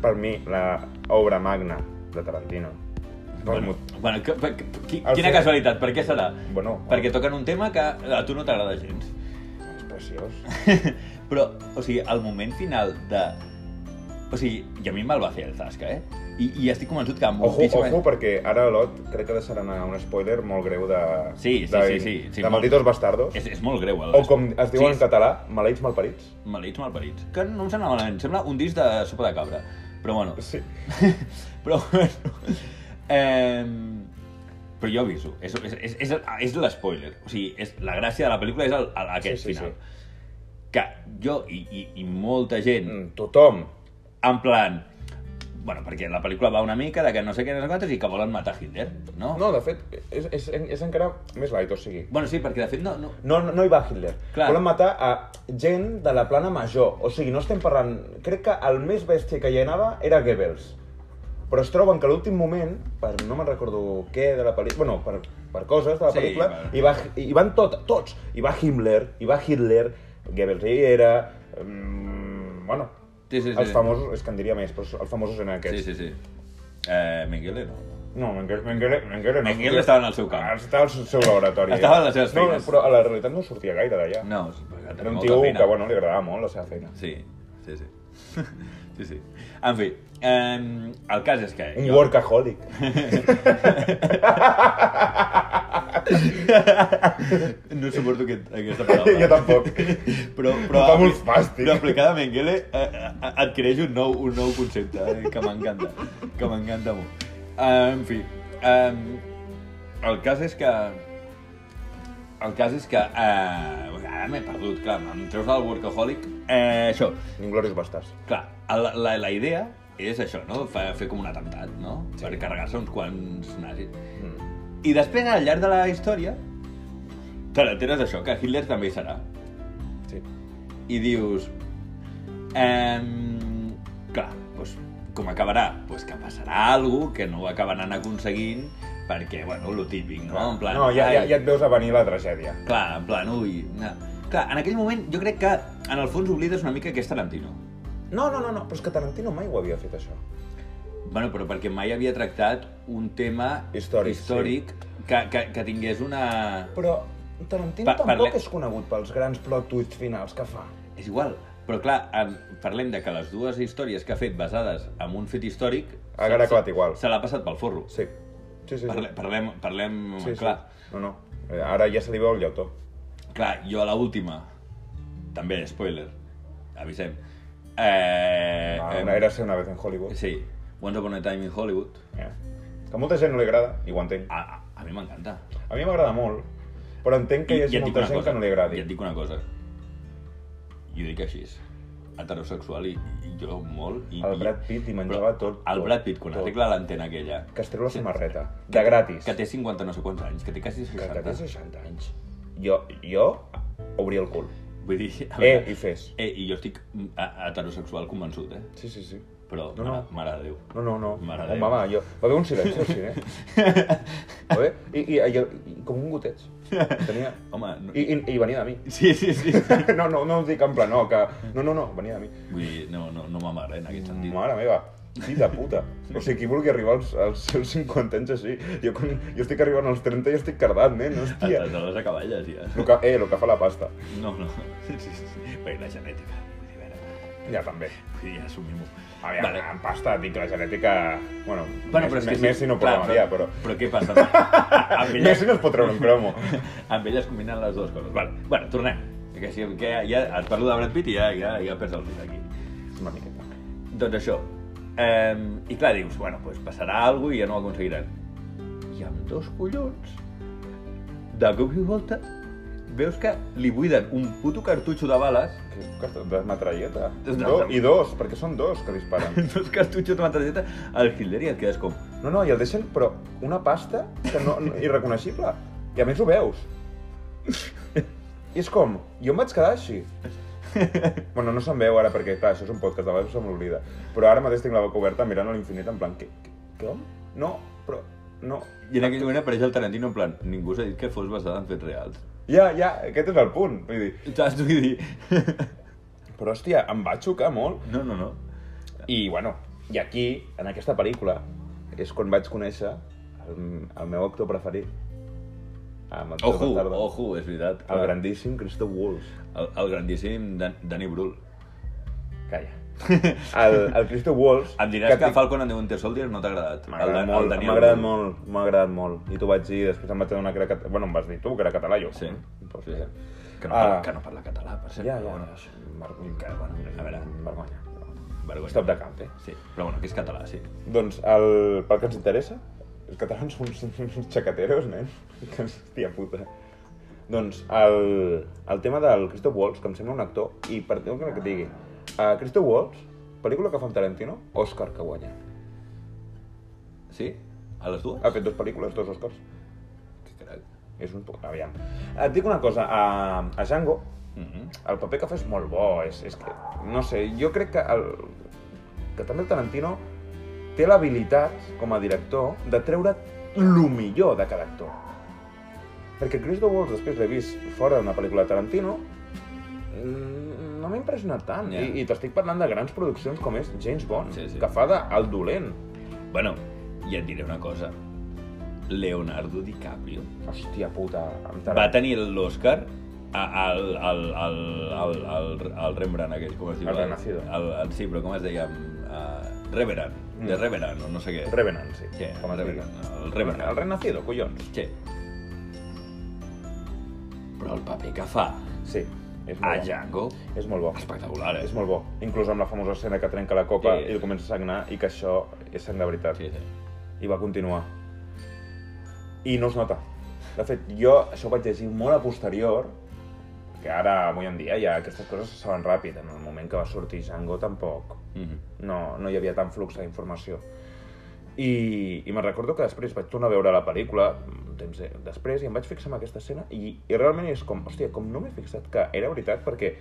Speaker 2: per mi, la obra magna de Tarantino. Per
Speaker 1: Bueno,
Speaker 2: bueno.
Speaker 1: bueno, que, que, qui,
Speaker 2: Al
Speaker 1: quina
Speaker 2: final-
Speaker 1: casualitat, per què serà?
Speaker 2: Bueno,
Speaker 1: Perquè toquen un tema que a tu no t'agrada gens.
Speaker 2: És preciós.
Speaker 1: Però, o sigui, el moment final de O sigui, i a mi me'l va fer el Zasca, eh? I, i estic convençut que amb
Speaker 2: Ojo, ojo, perquè ara l'Ot crec que deixaran anar un spoiler molt greu de...
Speaker 1: Sí, sí,
Speaker 2: de,
Speaker 1: sí, sí, sí,
Speaker 2: de
Speaker 1: molt.
Speaker 2: Malditos Bastardos.
Speaker 1: És, és molt greu. El...
Speaker 2: O com es diu
Speaker 1: Sí,
Speaker 2: en català, maleïts malparits.
Speaker 1: Maleïts malparits. Que no em sembla malament, em sembla un disc de sopa de cabra. Però bueno,
Speaker 2: Sí.
Speaker 1: però [laughs] bueno... Eh, però jo aviso, és, és, és, és, és l'espoiler. O sigui, és, la gràcia de la pel·lícula és el, el, aquest
Speaker 2: Sí, sí,
Speaker 1: final. Que jo i, i, i molta gent
Speaker 2: Mm, Tothom.
Speaker 1: en plan... Bueno, perquè la pel·lícula va una mica de que no sé què, no sé quantes, i que volen matar Hitler, no?
Speaker 2: No, de fet, és, és, és encara més light, o sigui...
Speaker 1: Bueno, sí, perquè de fet no... no...
Speaker 2: No, no, no hi va Hitler.
Speaker 1: Clar.
Speaker 2: Volen matar a gent de la plana major. O sigui, no estem parlant... Crec que el més bèstia que hi anava era Goebbels. Però es troben que a l'últim moment, per no me'n recordo què de la pel·lícula... Bueno, per, per coses de la
Speaker 1: Sí,
Speaker 2: pel·lícula,
Speaker 1: per-
Speaker 2: hi, va, hi van tot, tots. Hi va Himmler, hi va Hitler, Goebbels hi era... Mm, bueno,
Speaker 1: Sí, sí, sí.
Speaker 2: els famosos... És que en diria més, però els famosos eren
Speaker 1: Sí,
Speaker 2: aquests.
Speaker 1: sí, sí. Eh, Mengele, no?
Speaker 2: No, Mengele, Mengele, Mengele no.
Speaker 1: Mengele estava en el seu camp.
Speaker 2: Ah, Estava al seu laboratori.
Speaker 1: Estava en les seves
Speaker 2: no,
Speaker 1: feines.
Speaker 2: Però a la realitat no sortia gaire d'allà.
Speaker 1: No, sí, perquè
Speaker 2: Era
Speaker 1: tenia
Speaker 2: un
Speaker 1: molta
Speaker 2: tio
Speaker 1: feina.
Speaker 2: que, bueno, li agradava molt la seva feina.
Speaker 1: Sí, sí, [laughs] sí. sí, sí. En fi, eh, el cas és que...
Speaker 2: Un workaholic.
Speaker 1: [laughs] No suporto aquest, aquesta paraula.
Speaker 2: [laughs] jo tampoc.
Speaker 1: Però, però,
Speaker 2: Em fa molt fàstic.
Speaker 1: Però aplicada a Mengele eh, eh, adquireix un nou, un nou concepte eh, que m'encanta, que m'encanta molt. Eh, en fi, eh, el cas és que... El cas és que... Eh, ara m'he perdut, clar, em treus del workaholic. Eh, això,
Speaker 2: Inglourious Bastards.
Speaker 1: Clar, la, la, la idea és això, no? Fa, fer com un atemptat, no? Sí.
Speaker 2: Sí.
Speaker 1: Per carregar-se uns quants nazis.
Speaker 2: Mm.
Speaker 1: I després, al llarg de la història, te n'enteres d'això, que Hitler també hi serà.
Speaker 2: Sí.
Speaker 1: I dius... Ehm, clar, doncs, com acabarà? Doncs que passarà alguna que no ho acabaran aconseguint perquè, bueno, lo típic, no? En plan,
Speaker 2: no ja, ja,
Speaker 1: ai,
Speaker 2: ja et veus a venir la tragèdia.
Speaker 1: Clar, en plan, ui... No. Clar, en aquell moment jo crec que, en el fons, oblides una mica que és Tarantino.
Speaker 2: No, no, no, no, però és que Tarantino mai ho havia fet, això.
Speaker 1: Bueno, però perquè mai havia tractat un tema
Speaker 2: Històric,
Speaker 1: històric sí. que, que, que tingués una...
Speaker 2: Però Tarantino
Speaker 1: Pa-
Speaker 2: tampoc
Speaker 1: parle-
Speaker 2: és conegut pels grans plot twists finals que fa.
Speaker 1: És igual, però clar, en... parlem de que les dues històries que ha fet basades en un fet històric...
Speaker 2: Ha
Speaker 1: se-
Speaker 2: acabat
Speaker 1: se-
Speaker 2: igual.
Speaker 1: Se l'ha passat pel forro.
Speaker 2: Sí. Sí, sí, sí.
Speaker 1: Parle, parlem, parlem
Speaker 2: sí, sí.
Speaker 1: clar.
Speaker 2: No, no. Eh, Ara ja se li veu el llautó.
Speaker 1: Clar, jo a la última, també, spoiler, avisem. Eh,
Speaker 2: Ah,
Speaker 1: em-
Speaker 2: una era ser una vez en Hollywood.
Speaker 1: Sí, Once Upon a Time in Hollywood.
Speaker 2: Eh. Que a molta gent no li agrada, i ho entenc.
Speaker 1: A, a, a mi m'encanta.
Speaker 2: A mi m'agrada molt, però entenc que
Speaker 1: I- i
Speaker 2: hi hagi
Speaker 1: et dic
Speaker 2: molta
Speaker 1: una
Speaker 2: gent
Speaker 1: cosa,
Speaker 2: que no li agradi.
Speaker 1: I et dic una cosa. Jo dic així. Heterosexual i, i jo molt... I,
Speaker 2: El Brad Pitt li menjava
Speaker 1: però
Speaker 2: tot,
Speaker 1: El
Speaker 2: tot,
Speaker 1: Brad Pitt, quan
Speaker 2: tot.
Speaker 1: arregla l'antena aquella,
Speaker 2: Que es treu la samarreta, de gratis.
Speaker 1: que té 50 no sé quants anys, que té quasi
Speaker 2: Que, que té
Speaker 1: 60.
Speaker 2: 60 anys. Jo, jo obria el cul.
Speaker 1: Vull dir... a
Speaker 2: Eh,
Speaker 1: veure,
Speaker 2: i fes.
Speaker 1: eh, i jo estic mm, a- heterosexual convençut, eh?
Speaker 2: Sí, sí, sí.
Speaker 1: Però,
Speaker 2: No,
Speaker 1: no,
Speaker 2: no.
Speaker 1: mare, mare de Déu.
Speaker 2: No, no, no.
Speaker 1: Mare
Speaker 2: oh,
Speaker 1: de
Speaker 2: mama, jo... Va haver un silenci,
Speaker 1: [laughs]
Speaker 2: sí, eh? Va haver... I, i, i, i com un goteig. Tenia...
Speaker 1: Home, no...
Speaker 2: I, i, i venia de mi.
Speaker 1: [laughs]
Speaker 2: [laughs]
Speaker 1: Sí, sí, sí.
Speaker 2: No, no, no us dic en plan, no, que... No, no, no, venia de mi.
Speaker 1: Vull dir, no, no, no m'amara, eh, en aquest sentit.
Speaker 2: Mare meva, fill de puta. O sigui, qui vulgui arribar als, als seus 50 anys així, jo, quan, jo estic arribant als 30 i estic cardat, nen, hòstia.
Speaker 1: Estàs a les acaballes, ja.
Speaker 2: Lo que, eh, lo que fa la pasta.
Speaker 1: No, [laughs] no. Sí, sí, sí. Bé, la genètica. Vull dir, a veure,
Speaker 2: Ja també.
Speaker 1: Sí, ja assumim-ho.
Speaker 2: A veure, vale. en pasta, dic, la genètica... Bueno, bueno més, més,
Speaker 1: sí,
Speaker 2: Messi no
Speaker 1: clar,
Speaker 2: programaria, però...
Speaker 1: Però què passa? amb, elles,
Speaker 2: [laughs] Messi no es pot treure un cromo.
Speaker 1: [laughs] amb elles combinen les dues coses. Vale. Bueno, tornem. Que, si, que ja, ja et parlo de Brad Pitt i ja, ja, ja perds el fil aquí.
Speaker 2: Una miqueta.
Speaker 1: Doncs això. Eh, I clar, dius, bueno, pues passarà alguna cosa i ja no ho aconseguiran. I amb dos collons, de cop i volta, veus que li buiden un puto cartutxo de bales [laughs]
Speaker 2: Que costa de metralleta.
Speaker 1: Des de-
Speaker 2: Do, I dos, perquè són dos que disparen.
Speaker 1: dos cartutxos de metralleta al Hitler i et quedes com...
Speaker 2: No, no, i el deixen, però una pasta que no, no, irreconeixible. I a més ho veus. I és com, jo em vaig quedar així. Bueno, no se'n veu ara, perquè clar, això és un podcast, a vegades se m'oblida. Però ara mateix tinc la boca oberta mirant a l'infinit en plan, què? què- Què? No, però... No,
Speaker 1: I en aquell moment apareix el Tarantino en plan, ningú s'ha dit que fos basada en fets reals.
Speaker 2: Ja, ja, aquest és el punt. Vull dir,
Speaker 1: Saps? Vull dir...
Speaker 2: però hòstia, em va xocar molt.
Speaker 1: No, no, no.
Speaker 2: I bueno, i aquí, en aquesta pel·lícula, és quan vaig conèixer el, el meu actor preferit. Ah, Amb actor
Speaker 1: Ojo,
Speaker 2: bastardo.
Speaker 1: ojo, és veritat.
Speaker 2: El grandíssim Christoph Waltz.
Speaker 1: El, el grandíssim Dan Dani Brühl.
Speaker 2: Calla. [laughs] El, el Christoph Waltz...
Speaker 1: Em diràs que,
Speaker 2: tinc-
Speaker 1: Falcon and the Winter Soldier no t'ha agradat.
Speaker 2: M'ha agradat,
Speaker 1: El Dan- el
Speaker 2: molt,
Speaker 1: Daniel
Speaker 2: m'ha agradat
Speaker 1: Blue.
Speaker 2: molt, m'ha agradat molt. I t'ho vaig dir, després em vaig adonar que era català. Bueno, em vas dir tu, que era català, jo.
Speaker 1: Sí.
Speaker 2: Però,
Speaker 1: sí,
Speaker 2: sí.
Speaker 1: sí. Que, no parla,
Speaker 2: Ah.
Speaker 1: que no parla català, per cert.
Speaker 2: Ja,
Speaker 1: però
Speaker 2: ja,
Speaker 1: bueno,
Speaker 2: és vergonya.
Speaker 1: Que, bueno, a veure.
Speaker 2: Vergonya.
Speaker 1: vergonya.
Speaker 2: Stop de camp, eh?
Speaker 1: Sí, però bueno, que és català, sí.
Speaker 2: Doncs, el, pel que ens interessa, els catalans són uns, uns xacateros, nen. [laughs] Que hòstia puta. Doncs el, el tema del Christoph Waltz, que em sembla un actor, i per què que et digui, uh, Christoph Waltz, pel·lícula que fa amb Tarantino, Òscar que guanya.
Speaker 1: Sí? A les dues?
Speaker 2: Ha fet dues pel·lícules, dos Òscars.
Speaker 1: Que crac.
Speaker 2: És un poc... Aviam. Et dic una cosa, a, a Django,
Speaker 1: Mhm.
Speaker 2: el paper que fa és molt bo, és, és que... No sé, jo crec que el, que també el Tarantino té l'habilitat, com a director, de treure lo millor de cada actor. Perquè Christoph Waltz, després l'he vist fora d'una pel·lícula de Tarantino, mm, no m'ha impressionat tant. eh?
Speaker 1: Ja.
Speaker 2: I, I t'estic parlant de grans produccions com és James Bond,
Speaker 1: Sí, sí.
Speaker 2: que fa de el dolent.
Speaker 1: Bueno, i et diré una cosa. Leonardo DiCaprio
Speaker 2: Hòstia puta, amb
Speaker 1: va tenir l'Oscar al, al, al, al, al, al Rembrandt aquell, com es diu?
Speaker 2: El Renacido.
Speaker 1: El, el, sí, però com es deia? Uh, Reverend,
Speaker 2: Mm.
Speaker 1: de Reverend, o no sé què.
Speaker 2: Revenant, sí.
Speaker 1: Sí,
Speaker 2: com
Speaker 1: el
Speaker 2: es digui.
Speaker 1: Reverend. El
Speaker 2: El
Speaker 1: Reverend.
Speaker 2: Renacido, collons.
Speaker 1: Sí. Però el paper que fa
Speaker 2: Sí, és
Speaker 1: a
Speaker 2: molt bo.
Speaker 1: Django,
Speaker 2: És molt bo.
Speaker 1: espectacular, eh?
Speaker 2: És molt bo. Inclús amb la famosa escena que trenca la copa
Speaker 1: Sí.
Speaker 2: i el comença a sagnar i que això és sang de veritat.
Speaker 1: Sí, sí.
Speaker 2: I va continuar. I no es nota. De fet, jo això ho vaig llegir molt a posterior, que ara, avui en dia, ja aquestes coses se saben ràpid. En el moment que va sortir Django, tampoc
Speaker 1: Mhm.
Speaker 2: no, no hi havia tant flux d'informació. I, i me'n recordo que després vaig tornar a veure la pel·lícula, un temps de- després, i em vaig fixar en aquesta escena, i, i realment és com, hòstia, com no m'he fixat que era veritat, perquè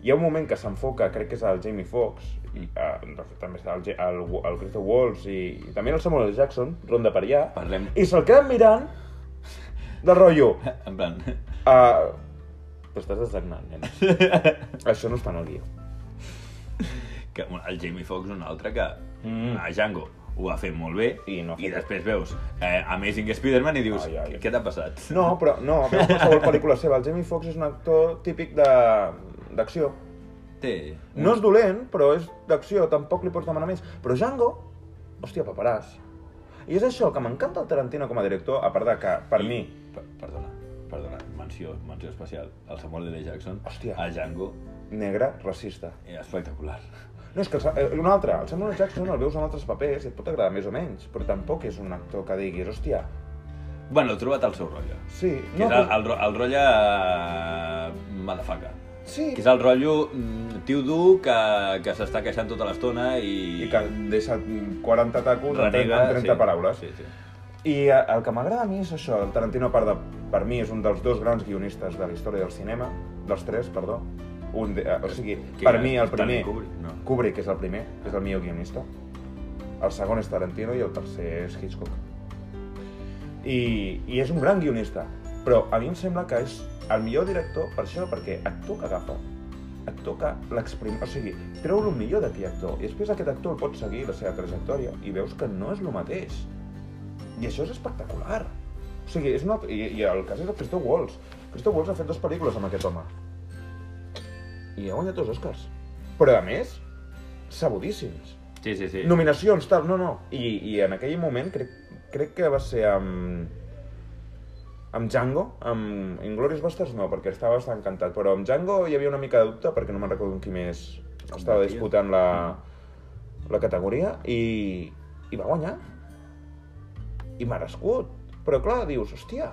Speaker 2: hi ha un moment que s'enfoca, crec que és el Jamie Foxx, i, eh, de fet, també està el, Ja- el, el Christopher Waltz i, i també el Samuel L. Jackson, ronda per allà,
Speaker 1: Parlem... [laughs]
Speaker 2: i se'l queden mirant de rotllo.
Speaker 1: En plan...
Speaker 2: Uh, T'estàs desagnant, nen. Això no està en el guió.
Speaker 1: Que, bueno, el Jamie Foxx, un altre que
Speaker 2: Mm.
Speaker 1: mm. a Django ho va fer molt bé
Speaker 2: I no ha
Speaker 1: i
Speaker 2: fet-
Speaker 1: després veus eh, Amazing Spider-Man i dius,
Speaker 2: Ai, ai.
Speaker 1: què t'ha passat?
Speaker 2: No, però no, però qualsevol
Speaker 1: [laughs]
Speaker 2: pel·lícula seva. El Jamie Foxx és un actor típic de- d'acció.
Speaker 1: Té... un-
Speaker 2: No és dolent, però és d'acció, tampoc li pots demanar més. Però Django, hòstia, paperàs. I és això, que m'encanta el Tarantino com a director, a part de que, per
Speaker 1: I-
Speaker 2: mi,
Speaker 1: per- Perdona, perdona, menció, menció especial. El Samuel L. Jackson,
Speaker 2: Hòstia.
Speaker 1: a Django,
Speaker 2: negre, racista.
Speaker 1: eh, espectacular.
Speaker 2: No, és que el Sa- eh, un altre, el Samuel L. Jackson el veus en altres papers i et pot agradar més o menys, però tampoc és un actor que diguis, hòstia,
Speaker 1: Bueno, he trobat el seu rotllo.
Speaker 2: sí,
Speaker 1: Que
Speaker 2: no,
Speaker 1: és el,
Speaker 2: però-
Speaker 1: el, ro- el rotllo... Eh, madafaca.
Speaker 2: sí,
Speaker 1: Que és el rotllo mm, tio dur que, que s'està queixant tota l'estona i...
Speaker 2: i que deixa 40 tacos en 30,
Speaker 1: renega,
Speaker 2: en 30
Speaker 1: sí.
Speaker 2: paraules.
Speaker 1: Sí, sí.
Speaker 2: I eh, el que m'agrada a mi és això, el Tarantino a part de, per mi és un dels dos grans guionistes de la història del cinema, dels tres, perdó. Un de, eh, o sigui,
Speaker 1: Que
Speaker 2: per
Speaker 1: era
Speaker 2: mi el primer,
Speaker 1: Stanley Kubrick, no.
Speaker 2: Kubrick és el primer, és el millor guionista. El segon és Tarantino i el tercer és Hitchcock. I, i és un gran guionista, però a mi em sembla que és el millor director per això, perquè actor que agafa, actor que l'exprim... O sigui, treu el millor d'aquell actor, i després aquest actor el pot seguir la seva trajectòria i veus que no és el mateix. I això és espectacular. O sigui, és una... I, i el cas és el Christoph Waltz. Christoph Waltz ha fet dues pel·lícules amb aquest home. I ha guanyat dos Oscars. Però, a més, sabudíssims.
Speaker 1: Sí, sí, sí.
Speaker 2: Nominacions, tal, no, no. I, i en aquell moment crec, crec que va ser amb... Amb Django, amb Inglourious Basterds no, perquè estava bastant encantat, però amb Django hi havia una mica de dubte perquè no me'n recordo amb qui més estava
Speaker 1: Competia.
Speaker 2: disputant la, la categoria i, i va guanyar. I merescut. Però clar, dius, hòstia...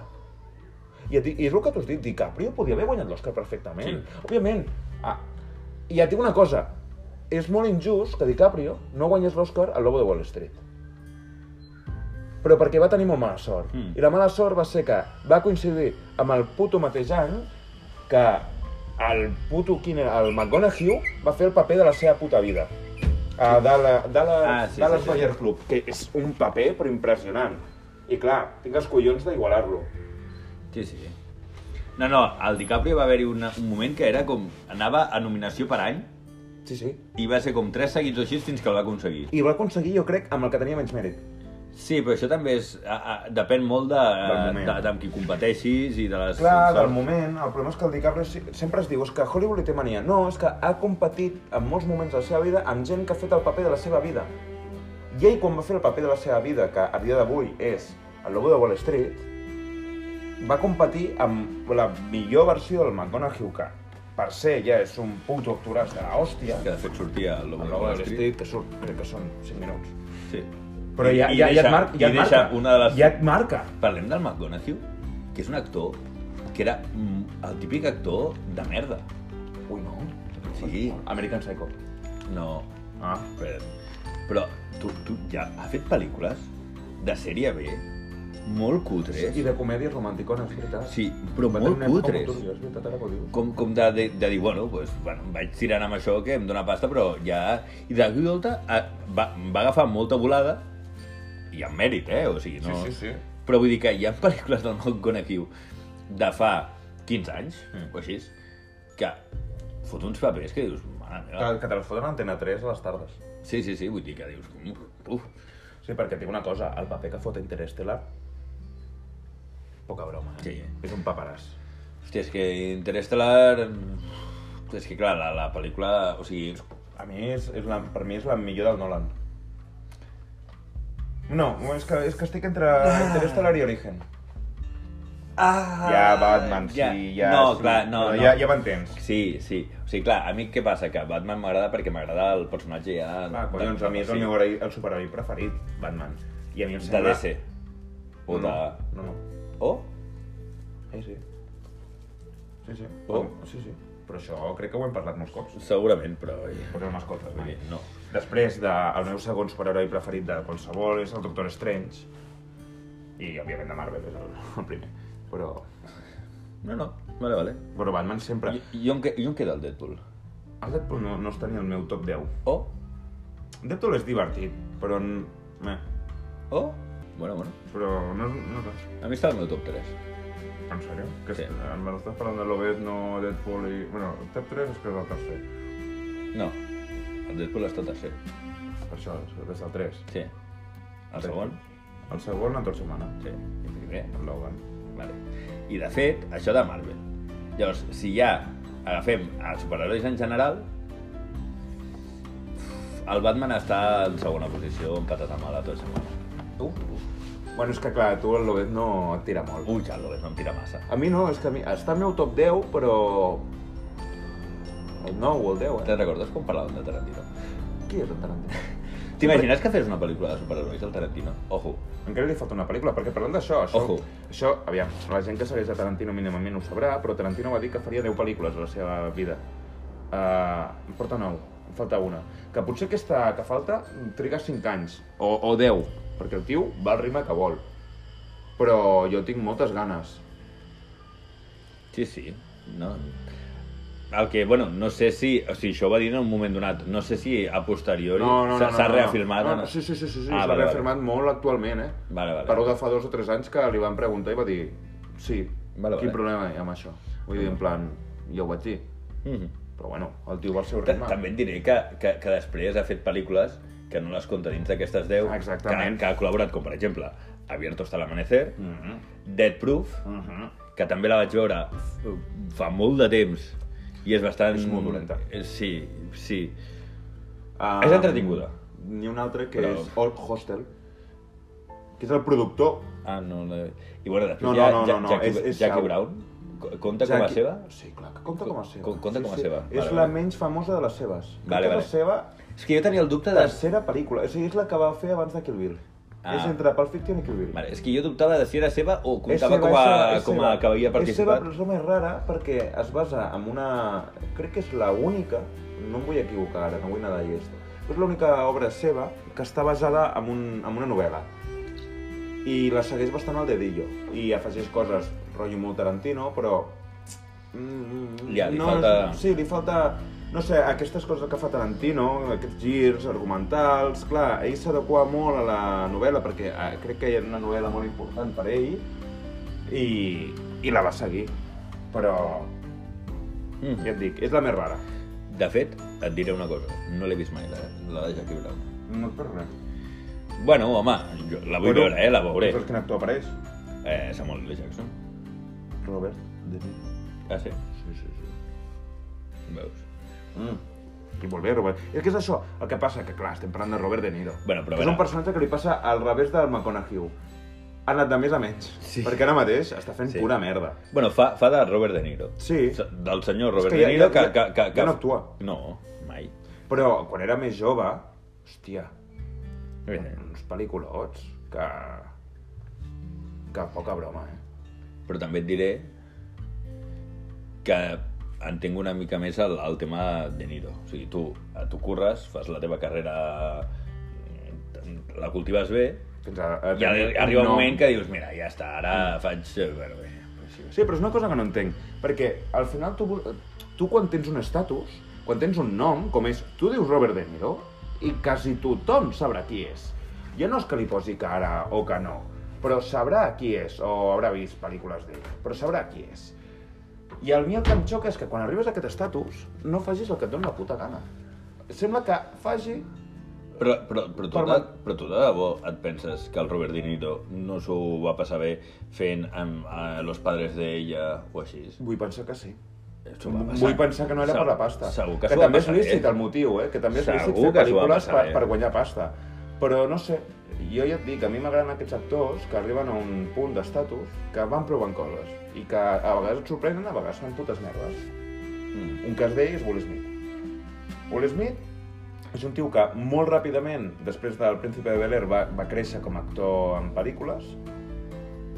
Speaker 2: I, et, di- i és el que t'ho has dit, DiCaprio podia haver guanyat l'Oscar perfectament.
Speaker 1: Sí.
Speaker 2: Sí. Òbviament. Ah, I et dic una cosa, és molt injust que DiCaprio no guanyés l'Oscar al Lobo de Wall Street. Però perquè va tenir molt mala sort.
Speaker 1: Mm.
Speaker 2: Mm. I la mala sort va ser que va coincidir amb el puto mateix any que el puto, quin era, el McGonaghy va fer el paper de la seva puta vida. A Dallas, Dallas,
Speaker 1: Ah,
Speaker 2: ah,
Speaker 1: sí,
Speaker 2: sí, Dallas
Speaker 1: sí,
Speaker 2: sí,
Speaker 1: sí.
Speaker 2: Bayer Club, que és un paper però impressionant. I clar, tinc els collons d'igualar-lo.
Speaker 1: Sí, sí. No, no, al DiCaprio va haver-hi una- un moment que era com... Anava a nominació per any
Speaker 2: Sí, sí.
Speaker 1: i va ser com tres seguits o així fins que el va aconseguir.
Speaker 2: I va aconseguir, jo crec, amb el que tenia menys mèrit.
Speaker 1: Sí, però això també és, a, a, depèn molt de,
Speaker 2: Del moment.
Speaker 1: de, de amb qui competeixis i de les...
Speaker 2: Clar, del
Speaker 1: sorts.
Speaker 2: moment, el problema és que el DiCaprio si- sempre es diu és que Hollywood li té mania. No, és que ha competit en molts moments de la seva vida amb gent que ha fet el paper de la seva vida. I ell, quan va fer el paper de la seva vida, que a dia d'avui és el logo de Wall Street, va competir amb la millor versió del McGonagall que per ser ja és un puto actoràs de la hòstia.
Speaker 1: Que de fet sortia el Lobo
Speaker 2: El
Speaker 1: de
Speaker 2: logo de
Speaker 1: Wall
Speaker 2: Wall
Speaker 1: Street.
Speaker 2: Street, que surt, crec que són 5 minuts.
Speaker 1: Sí.
Speaker 2: Però
Speaker 1: I-
Speaker 2: ja,
Speaker 1: i
Speaker 2: ja, ja
Speaker 1: deixa-
Speaker 2: et marca. Ja
Speaker 1: i
Speaker 2: et
Speaker 1: deixa
Speaker 2: marca.
Speaker 1: una de les-
Speaker 2: Ja et marca.
Speaker 1: Parlem del McGonaghy, que és un actor que era mm, el típic actor de merda.
Speaker 2: Ui, no.
Speaker 1: Sí.
Speaker 2: American Psycho.
Speaker 1: No,
Speaker 2: Ah.
Speaker 1: espera't. Però tu, tu ja ha fet pel·lícules de sèrie B molt cutres.
Speaker 2: I de comèdies romànticones, és veritat.
Speaker 1: Sí, però
Speaker 2: Va
Speaker 1: molt
Speaker 2: tenir una època
Speaker 1: cutres.
Speaker 2: molt turbia, És veritat, ara que ho dius.
Speaker 1: com, com de, de, de dir, bueno, pues, bueno, vaig tirant amb això que em dóna pasta, però ja... I de cop i volta a, va, va agafar molta volada, i amb mèrit, eh? O sigui, no...
Speaker 2: Sí, sí, sí.
Speaker 1: Però vull dir que hi ha pel·lícules del McGonaghy de fa 15 anys,
Speaker 2: Mm.
Speaker 1: o així, que fot uns papers que dius, mare meva...
Speaker 2: Que, que te les foten a Antena 3 a les tardes.
Speaker 1: Sí, sí, sí, vull dir que dius, uf, uf.
Speaker 2: Sí, perquè et dic una cosa, el paper que fot Interestelar... Poca broma. eh?
Speaker 1: Sí, eh?
Speaker 2: És un paperàs.
Speaker 1: Hòstia, és que Interestelar... És que clar, la, la pel·lícula... O sigui,
Speaker 2: A mi, és, és la, per mi és la millor del Nolan. No, és que, és que estic entre Interestelar i Origen.
Speaker 1: Ah,
Speaker 2: ja Batman, sí, ja...
Speaker 1: No,
Speaker 2: sí,
Speaker 1: clar, no, no.
Speaker 2: però Ja, ja m'entens.
Speaker 1: Sí, sí. O sigui, clar, a mi què passa? Que Batman m'agrada perquè m'agrada el personatge ja...
Speaker 2: Ah, collons, a mi és el meu heroi- el superheroi preferit, Batman. I a mi em
Speaker 1: De
Speaker 2: sembla... Mm.
Speaker 1: DC. O
Speaker 2: No,
Speaker 1: de...
Speaker 2: no, no.
Speaker 1: O?
Speaker 2: Sí, sí. Sí, sí.
Speaker 1: Oh.
Speaker 2: Sí, sí. Però això crec que ho hem parlat molts cops.
Speaker 1: Segurament, però...
Speaker 2: Però no m'escoltes
Speaker 1: Vull
Speaker 2: mai.
Speaker 1: dir, no.
Speaker 2: Després, de, el meu segon superheroi preferit de qualsevol és el Doctor Strange. I, òbviament, de Marvel és el, [laughs] el primer. Però,
Speaker 1: No, no. Vale, vale.
Speaker 2: però Batman sempre...
Speaker 1: Jo, jo, em, que- jo em quedo el Deadpool.
Speaker 2: El Deadpool no, no està ni al meu top 10.
Speaker 1: O?
Speaker 2: Deadpool és divertit, però... n- Eh,
Speaker 1: O? Bueno, bueno.
Speaker 2: però no, és- no és res.
Speaker 1: A mi està el meu top 3.
Speaker 2: En sèrio? Que
Speaker 1: Sí.
Speaker 2: sí. Me l'estàs parlant de l'Obed, no Deadpool i... Bueno, el top 3 és que és el tercer.
Speaker 1: No. El Deadpool està tercer.
Speaker 2: Per això, és el 3.
Speaker 1: E. Sí. El segon?
Speaker 2: El segon, la torre humana.
Speaker 1: Sí. I primer?
Speaker 2: El Logan.
Speaker 1: Vale. I de fet, això de Marvel. Llavors, si ja agafem els superherois en general, el Batman està en segona posició, empatat amb la tota setmana.
Speaker 2: Tu? Bueno, és que clar, tu el Lobet no et tira molt.
Speaker 1: Ui, ja el Lobez no em tira massa.
Speaker 2: A mi no, és que a mi... està al meu top 10, però... El 9 o el 10,
Speaker 1: Te'n recordes quan parlàvem de Tarantino?
Speaker 2: eh? Qui és el Tarantino?
Speaker 1: T'imagines que fes una pel·lícula de superherois al Tarantino? Ojo.
Speaker 2: Encara li falta una pel·lícula, perquè parlant d'això, això,
Speaker 1: Ojo.
Speaker 2: això, aviam, la gent que segueix a Tarantino mínimament ho sabrà, però Tarantino va dir que faria 10 pel·lícules a la seva vida. Uh, en porta 9, en falta una. Que potser aquesta que falta triga 5 anys, o, o 10, perquè el tio va al ritme que vol. Però jo tinc moltes ganes.
Speaker 1: Sí, sí. No. El que, bueno, no sé si... O sigui, això ho va dir en un moment donat. No sé si a posteriori
Speaker 2: No, no, no.
Speaker 1: s'ha
Speaker 2: no,
Speaker 1: s'ha
Speaker 2: no, no.
Speaker 1: reafirmat.
Speaker 2: No,
Speaker 1: o
Speaker 2: no, sí, sí, sí, sí, sí
Speaker 1: Ah,
Speaker 2: s'ha
Speaker 1: vale,
Speaker 2: reafirmat molt actualment, eh?
Speaker 1: Vale, vale.
Speaker 2: Parlo de fa dos o tres anys que li van preguntar i va dir, sí,
Speaker 1: Vale,
Speaker 2: quin
Speaker 1: vale.
Speaker 2: problema hi ha amb això? Vull dir, en plan, jo ho vaig dir.
Speaker 1: vale. Mhm.
Speaker 2: Però bueno, el tio va al seu
Speaker 1: Ta-
Speaker 2: ritme.
Speaker 1: També et diré que, que, que després ha fet pel·lícules que no les compta dins d'aquestes 10,
Speaker 2: Exactament.
Speaker 1: Que, que ha col·laborat, com per exemple, Abierto hasta el amanecer,
Speaker 2: Mhm,
Speaker 1: Dead Proof,
Speaker 2: mhm.
Speaker 1: que també la vaig veure f- fa molt de temps i és bastant...
Speaker 2: És molt dolenta.
Speaker 1: Eh, Sí, sí.
Speaker 2: Ah,
Speaker 1: És entretinguda.
Speaker 2: N'hi ha un altre que
Speaker 1: Però-
Speaker 2: és Old Hostel, que és el productor.
Speaker 1: Ah, no, no. I bueno, després
Speaker 2: No,
Speaker 1: hi ha
Speaker 2: no, no,
Speaker 1: Ja-
Speaker 2: no, no,
Speaker 1: Jackie,
Speaker 2: és- és
Speaker 1: Jackie
Speaker 2: sau.
Speaker 1: Brown, co- compta com a
Speaker 2: Jackie-
Speaker 1: seva?
Speaker 2: Sí, clar, que compta com a seva.
Speaker 1: Com- compta
Speaker 2: sí,
Speaker 1: com a
Speaker 2: sí.
Speaker 1: seva.
Speaker 2: És
Speaker 1: Vale,
Speaker 2: la
Speaker 1: vale.
Speaker 2: menys famosa de les seves.
Speaker 1: Vale,
Speaker 2: Crec que
Speaker 1: vale.
Speaker 2: és la seva
Speaker 1: És que jo tenia el dubte de...
Speaker 2: tercera pel·lícula. O sigui, és la que va fer abans de Kill Bill.
Speaker 1: Ah.
Speaker 2: És entre Pulp Fiction i Kill Bill.
Speaker 1: Vale, és que jo dubtava de si era seva o
Speaker 2: És
Speaker 1: comptava
Speaker 2: seva,
Speaker 1: com a,
Speaker 2: és seva, és
Speaker 1: com a
Speaker 2: seva.
Speaker 1: que havia
Speaker 2: És
Speaker 1: participat.
Speaker 2: seva, però és la més rara perquè es basa en una... Crec que és la única, no em vull equivocar ara, no vull anar de llest, però és l'única obra seva que està basada en, un, en una novel·la. I la segueix bastant al dedillo. I afegeix coses, rotllo molt Tarantino, però... Mm,
Speaker 1: Li- li falta-
Speaker 2: Sí, li falta... No sé, aquestes coses que fa Tarantino, aquests girs argumentals... Clar, ell s'adequa molt a la novel·la, perquè eh, crec que era una novel·la molt important per ell, i, i la va seguir. Però,
Speaker 1: Mhm.
Speaker 2: ja et dic, és la més rara.
Speaker 1: De fet, et diré una cosa, no l'he vist mai, la, la de Jackie Brown.
Speaker 2: No et perd res.
Speaker 1: Bueno, home, jo la vull
Speaker 3: Bueno,
Speaker 1: veure, eh? La veuré.
Speaker 3: Saps quin actor apareix?
Speaker 1: Eh, Samuel L. Jackson.
Speaker 3: Robert De Niro.
Speaker 1: Ah, sí?
Speaker 3: Sí, sí, sí.
Speaker 1: Veus?
Speaker 3: Mm. I molt bé, Robert. És que és això. El que passa, que clar, estem parlant de Robert De Niro.
Speaker 1: Bueno, però a
Speaker 3: és
Speaker 1: veure.
Speaker 3: un personatge que li passa al revés del McConaughey. Ha anat de més a menys.
Speaker 1: Sí.
Speaker 3: Perquè ara mateix està fent
Speaker 1: Sí.
Speaker 3: pura merda.
Speaker 1: Bueno, fa, fa de Robert De Niro.
Speaker 3: Sí.
Speaker 1: S- Del senyor Robert
Speaker 3: És que ja-
Speaker 1: De Niro que,
Speaker 3: ja-
Speaker 1: que, que,
Speaker 3: ja
Speaker 1: que...
Speaker 3: no actua.
Speaker 1: No, mai.
Speaker 3: Però quan era més jove, hòstia,
Speaker 1: Eh,
Speaker 3: uns pel·lículots que... que poca broma, eh?
Speaker 1: Però també et diré que entenc una mica més el, el tema de Niro. O sigui, tu, eh, tu curres, fas la teva carrera, mm, la cultives bé,
Speaker 3: Fins a...
Speaker 1: i arri- arriba un moment que dius, mira, ja està, ara faig... eh, Bueno, bé, pues sí,
Speaker 3: Sí, però és una cosa que no entenc, perquè al final tu, vol- tu quan tens un estatus, quan tens un nom, com és, tu dius Robert De Niro i quasi tothom sabrà qui és. Ja no és que li posi cara o que no, però sabrà qui és, o haurà vist pel·lícules d'ell, però sabrà qui és. I el mi el que em xoca és que quan arribes a aquest estatus no facis el que et doni la puta gana. Sembla que faci...
Speaker 1: Però, però, però, tu
Speaker 3: Per
Speaker 1: de,
Speaker 3: ma-
Speaker 1: però tu de debò et penses que el Robert De Niro no s'ho va passar bé fent amb eh, Los Padres de ella o així?
Speaker 3: Vull pensar que sí.
Speaker 1: S'ho va passar.
Speaker 3: Vull pensar que no era
Speaker 1: Segur-
Speaker 3: per la pasta.
Speaker 1: Segur que,
Speaker 3: que
Speaker 1: s'ho va
Speaker 3: també és
Speaker 1: passar
Speaker 3: lícit
Speaker 1: bé.
Speaker 3: el motiu, eh? Que també és
Speaker 1: Segur
Speaker 3: lícit fer
Speaker 1: que s'ho va
Speaker 3: pel·lícules
Speaker 1: passar
Speaker 3: per,
Speaker 1: bé.
Speaker 3: per guanyar pasta. Però no sé, jo ja et dic, a mi m'agraden aquests actors que arriben a un punt d'estatus que van provant coses i que a vegades et sorprenen, a vegades fan putes merdes.
Speaker 1: Mm.
Speaker 3: Un cas d'ell és Will Smith. Will Smith és un tio que molt ràpidament, després del Príncipe de Bel-Air, va, va créixer com a actor en pel·lícules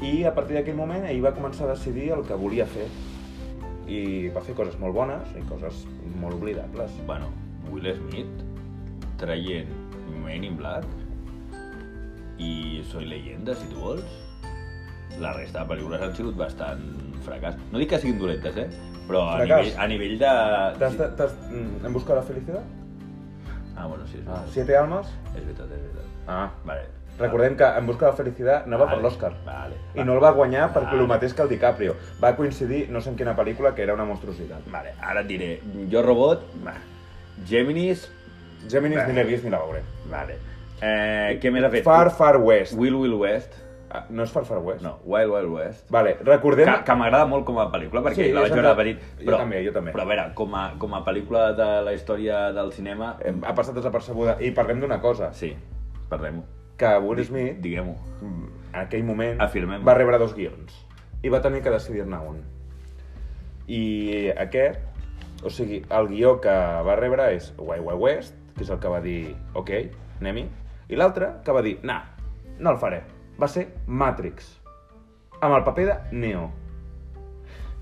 Speaker 3: i a partir d'aquell moment ell va començar a decidir el que volia fer i va fer coses molt bones i coses molt oblidables.
Speaker 1: Bueno, Will Smith traient Men in Black i Soy Leyenda, si tu vols. La resta de pel·lícules han sigut bastant fracàs. No dic que siguin dolentes, eh? Però a
Speaker 3: Fracàs.
Speaker 1: nivell, a nivell de...
Speaker 3: T'has, de- t'has, mm, en busca de la felicitat?
Speaker 1: Ah, bueno, sí, és
Speaker 3: Ah,
Speaker 1: veritat.
Speaker 3: siete almas?
Speaker 1: És veritat, és veritat.
Speaker 3: Ah.
Speaker 1: Vale.
Speaker 3: Recordem que En busca de la felicitat anava per l'Oscar.
Speaker 1: Vale.
Speaker 3: I no el va guanyar perquè
Speaker 1: Vale.
Speaker 3: el mateix que el DiCaprio. Va coincidir, no sé en quina pel·lícula, que era una monstruositat.
Speaker 1: Vale, ara et diré, jo robot, va. Geminis,
Speaker 3: Geminis
Speaker 1: Bé.
Speaker 3: ni l'he vist ni la veuré.
Speaker 1: vale. Eh, què més ha fet?
Speaker 3: Far Far West.
Speaker 1: Will Will West,
Speaker 3: Ah, No és Far Far West.
Speaker 1: no, Wild Wild West,
Speaker 3: Vale, recordem...
Speaker 1: que, que m'agrada molt com a pel·lícula, perquè
Speaker 3: Sí,
Speaker 1: la vaig
Speaker 3: jo
Speaker 1: veure de
Speaker 3: també.
Speaker 1: petit.
Speaker 3: Jo també, jo també.
Speaker 1: Però a veure, com a, com a pel·lícula de la història del cinema...
Speaker 3: Em- Ha passat desapercebuda. I parlem d'una cosa,
Speaker 1: Sí, parlem-ho.
Speaker 3: que Will Smith,
Speaker 1: Diguem-ho.
Speaker 3: en aquell moment,
Speaker 1: Afirmem.
Speaker 3: va rebre dos guions. I va tenir que decidir-ne un. I aquest, o sigui, el guió que va rebre és Wild Wild West, que és el que va dir, ok, anem-hi. I l'altre, que va dir, nah, no el faré. Va ser Matrix, amb el paper de Neo.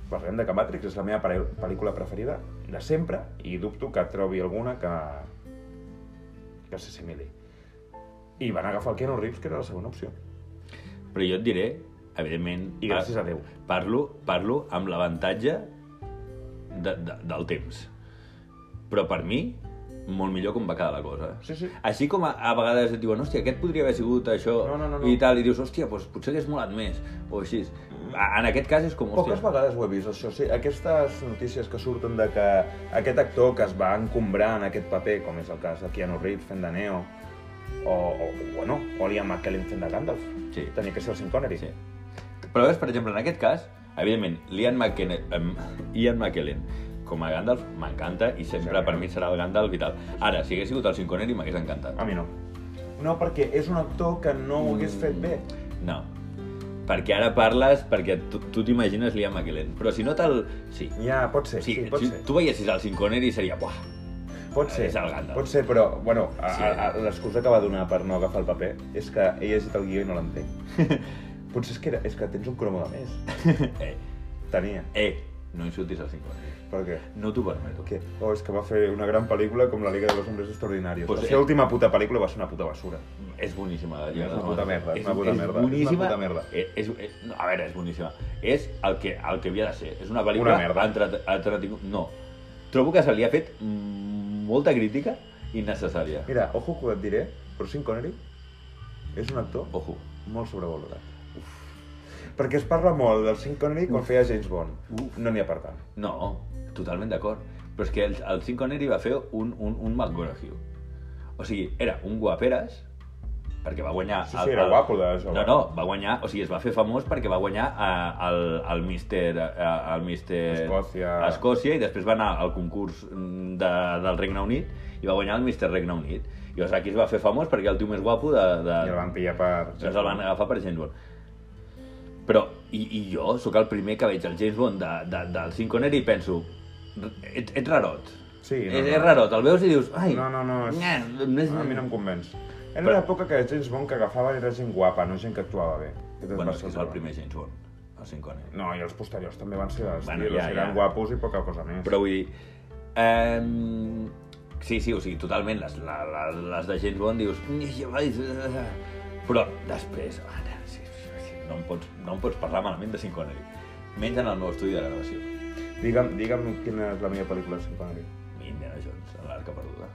Speaker 3: Parlem de que Matrix és la meva pare- pel·lícula preferida de sempre i dubto que trobi alguna que, que s'assimili. I van agafar el Keanu Reeves, que era la segona opció.
Speaker 1: Però jo et diré, evidentment...
Speaker 3: I gràcies a Déu.
Speaker 1: Parlo, parlo amb l'avantatge de, de, del temps. Però per mi, molt millor com va quedar la cosa.
Speaker 3: Sí, sí.
Speaker 1: Així com a, a vegades et diuen, hòstia, aquest podria haver sigut això
Speaker 3: No, no, no, no.
Speaker 1: i tal, i dius, hòstia, doncs potser hagués molat més, o així. A- En aquest cas és com, hòstia...
Speaker 3: Poques vegades ho he vist, això. Sí, aquestes notícies que surten de que aquest actor que es va encombrar en aquest paper, com és el cas de Keanu Reeves fent de Neo, o, o bueno, o Liam McKellen fent de Gandalf.
Speaker 1: Sí.
Speaker 3: Tenia que ser el Sean Connery.
Speaker 1: Sí. Però veus, per exemple, en aquest cas, evidentment, Ian McKellen, em, Ian McKellen com a Gandalf m'encanta i sempre
Speaker 3: Sí.
Speaker 1: per mi serà el Gandalf i tal. Ara, si hagués sigut el Sean Connery m'hagués encantat.
Speaker 3: A mi no. No, perquè és un actor que Ah, no ho hagués fet bé.
Speaker 1: Mm. No. Perquè ara parles, perquè tu tu t'imagines Liam McKellen. Però si no te'l... Sí.
Speaker 3: Ja, pot ser, sí,
Speaker 1: sí,
Speaker 3: pot
Speaker 1: si
Speaker 3: ser.
Speaker 1: tu veiessis el Sean Connery seria... Buah,
Speaker 3: Pot ser,
Speaker 1: és el Gandalf.
Speaker 3: pot ser, però, bueno, a-
Speaker 1: Sí.
Speaker 3: a- a- l'excusa que va donar per no agafar el paper és que he llegit el guió i no l'entenc.
Speaker 1: [laughs]
Speaker 3: Potser és que, era, és que tens un cromo de més.
Speaker 1: eh,
Speaker 3: Tenia.
Speaker 1: eh, no insultis al Sean Connery.
Speaker 3: Per què?
Speaker 1: No t'ho permeto.
Speaker 3: Que, oh, és que va fer una gran pel·lícula com La Liga de los Hombres Extraordinarios.
Speaker 1: Pues
Speaker 3: Pues la
Speaker 1: eh.
Speaker 3: seva última puta pel·lícula va ser una puta basura.
Speaker 1: És boníssima. la
Speaker 3: És
Speaker 1: Lliga
Speaker 3: una
Speaker 1: de la
Speaker 3: puta
Speaker 1: Mort.
Speaker 3: merda, és una puta
Speaker 1: és
Speaker 3: merda, és una
Speaker 1: Boníssima,
Speaker 3: puta merda.
Speaker 1: Eh, És, és, no, a veure, és boníssima. És el que, el que havia de ser. És una pel·lícula...
Speaker 3: Una merda.
Speaker 1: entret- entretingut- No. Trobo que se li ha fet mm, molta crítica innecessària.
Speaker 3: Mira, ojo que et diré, però Sean Connery és un actor
Speaker 1: Ojo.
Speaker 3: molt sobrevalorat. Perquè es parla molt del Sean Connery quan feia James Bond.
Speaker 1: Uf.
Speaker 3: No n'hi ha per tant.
Speaker 1: No, totalment d'acord. Però és que el, el Sean Connery va fer un, un, un McGonaghy. O sigui, era un guaperes perquè va guanyar...
Speaker 3: Sí, sí, era guapo de jove.
Speaker 1: Ah, No, no, va guanyar, o sigui, es va fer famós perquè va guanyar eh, el, el Mister... eh, El Mister...
Speaker 3: Escòcia.
Speaker 1: Escòcia, i després va anar al concurs mm, de, del Regne Unit i va guanyar el Mister Regne Unit. I llavors aquí es va fer famós perquè el tio més guapo de... de...
Speaker 3: I el van pillar per...
Speaker 1: Llavors el van agafar per James Bond. Però, i, i jo sóc el primer que veig el James Bond de, de, del Sean Connery i penso, ets, ets rarot.
Speaker 3: Sí,
Speaker 1: no, és, és rarot, el veus i dius, ai...
Speaker 3: No, no, no, és-
Speaker 1: nyeh,
Speaker 3: A mi no em convenç.
Speaker 1: Però-
Speaker 3: Era Però... l'època que James Bond que agafaven era gent guapa, no gent que actuava bé. Aquest
Speaker 1: Bueno,
Speaker 3: va
Speaker 1: és
Speaker 3: ser
Speaker 1: que és el primer James Bond, el Sean Connery.
Speaker 3: No, i els posteriors també van ser dels
Speaker 1: Bueno,
Speaker 3: bueno,
Speaker 1: ja,
Speaker 3: ja, eren
Speaker 1: ja.
Speaker 3: guapos i poca cosa més.
Speaker 1: Però vull dir... Ehm... Sí, sí, o sigui, totalment, les, la, la, les de James Bond dius... "Nyeh, ja vais, eh". Però després, ara, sí, sí, sí, no, em pots, no em pots parlar malament de Sean Connery. Menys en el meu estudi de gravació.
Speaker 3: Digue'm, digue'm quina és la millor pel·lícula de Sean Connery.
Speaker 1: Indiana Jones, a l'arca perduda.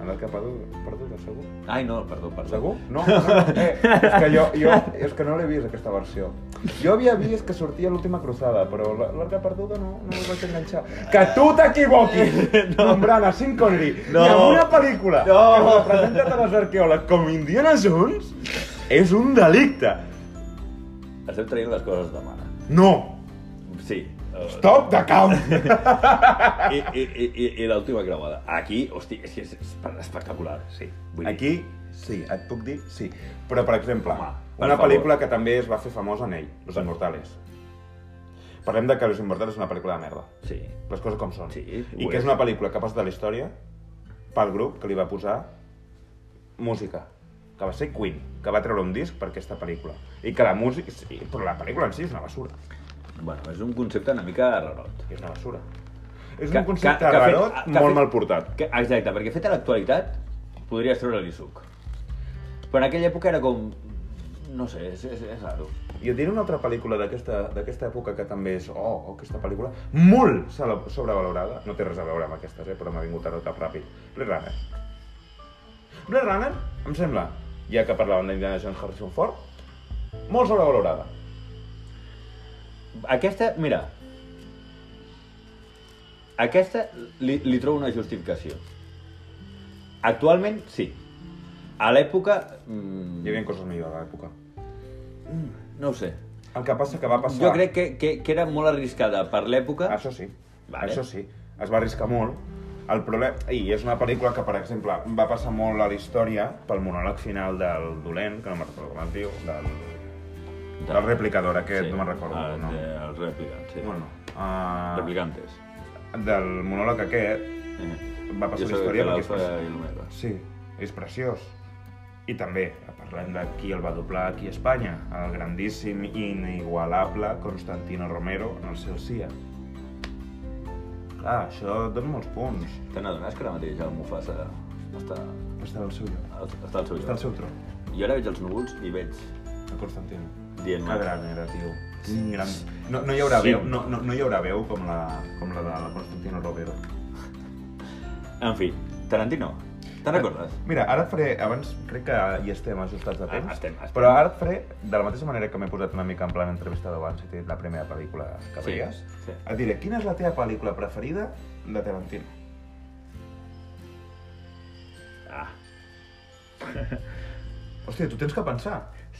Speaker 3: En el cap perduda, perduda, segur?
Speaker 1: Ai, no, perdó, perdó.
Speaker 3: Segur? No, no, no. Eh, és que jo, jo és que no l'he vist, aquesta versió. Jo havia vist que sortia l'última cruzada, però la- l'arca perduda no, no el vaig enganxar. Que tu t'equivoquis! [laughs] No. Nombrant a Sean Connery
Speaker 1: No.
Speaker 3: no. en una pel·lícula
Speaker 1: No.
Speaker 3: que representa tant els arqueòlegs com Indiana Jones és un delicte.
Speaker 1: Estem traient les coses de mare.
Speaker 3: No!
Speaker 1: Sí. eh,
Speaker 3: Stop de cau!
Speaker 1: I, i, i, i, i l'última creuada. Aquí, hosti, és que és espe- espectacular. Sí. Vull dir,
Speaker 3: Aquí, sí, et puc dir sí. Però, per exemple,
Speaker 1: Home, per
Speaker 3: una
Speaker 1: favor.
Speaker 3: pel·lícula que també es va fer famosa en ell, Los Inmortales. Parlem de que Los Inmortales és una pel·lícula de merda.
Speaker 1: Sí.
Speaker 3: Les coses com són.
Speaker 1: Sí,
Speaker 3: I
Speaker 1: ho
Speaker 3: que
Speaker 1: és.
Speaker 3: és una pel·lícula que passa de la història pel grup que li va posar música, que va ser Queen, que va treure un disc per aquesta pel·lícula. I que la música... Sí, però la pel·lícula en si és una basura.
Speaker 1: Bueno, és un concepte una mica rarot.
Speaker 3: És una basura. És
Speaker 1: Que-
Speaker 3: un concepte
Speaker 1: que- que ha fet-
Speaker 3: rarot
Speaker 1: que ha
Speaker 3: molt
Speaker 1: fet-
Speaker 3: mal portat.
Speaker 1: Que, exacte, perquè fet a l'actualitat podries treure-li suc. Però en aquella època era com... No sé, és, és, és raro.
Speaker 3: I et diré una altra pel·lícula d'aquesta d'aquesta època que també és, oh, oh, aquesta pel·lícula, molt cele- sobrevalorada. No té res a veure amb aquestes, eh, però m'ha vingut ara cap ràpid. Blade Runner. Blade Runner, em sembla, ja que parlàvem d'Indiana Jones Harrison Ford, molt sobrevalorada.
Speaker 1: Aquesta, mira... Aquesta li, li trobo una justificació. Actualment, sí. A l'època... Mm,
Speaker 3: Hi havia coses millors a l'època.
Speaker 1: No ho sé.
Speaker 3: El que passa Ah, que va passar...
Speaker 1: Jo crec que, que, que era molt arriscada per l'època.
Speaker 3: Això sí,
Speaker 1: Vale.
Speaker 3: vale. això sí. Es va arriscar molt. El problema... I és una pel·lícula que, per exemple, va passar molt a la història pel monòleg final del dolent, que no me'n recordo com es diu, del
Speaker 1: De-
Speaker 3: Del replicador aquest, sí, no me'n recordo.
Speaker 1: Ah, el,
Speaker 3: no.
Speaker 1: De, el replicant, sí.
Speaker 3: Bueno, uh,
Speaker 1: Replicantes.
Speaker 3: del monòleg aquest va passar la història perquè és, preci...
Speaker 1: i l'Omega.
Speaker 3: sí, és preciós. I també parlem de qui el va doblar aquí a Espanya, el grandíssim i inigualable Constantino Romero en el seu CIA. Clar, això et dona molts punts.
Speaker 1: Te n'adones que ara mateix el Mufasa està,
Speaker 3: Està al seu lloc,
Speaker 1: està al seu lloc?
Speaker 3: està al seu tron,
Speaker 1: Jo ara veig els núvols i veig
Speaker 3: el Constantino.
Speaker 1: dient
Speaker 3: Que gran era, tio. Quin gran... No, no, hi haurà
Speaker 1: Sí.
Speaker 3: veu, no, no, no hi haurà veu com la, com la de la Constantino Romero.
Speaker 1: En fi, Tarantino, te'n recordes?
Speaker 3: Mira, ara et faré... Abans crec que hi estem ajustats de
Speaker 1: Ah,
Speaker 3: temps.
Speaker 1: estem, estem.
Speaker 3: Però ara et faré, de la mateixa manera que m'he posat una mica en plan entrevista d'abans i t'he dit la primera pel·lícula que
Speaker 1: Sí,
Speaker 3: veies,
Speaker 1: sí.
Speaker 3: et diré, quina és la teva pel·lícula preferida de Tarantino?
Speaker 1: Ah.
Speaker 3: Hòstia, tu tens que pensar.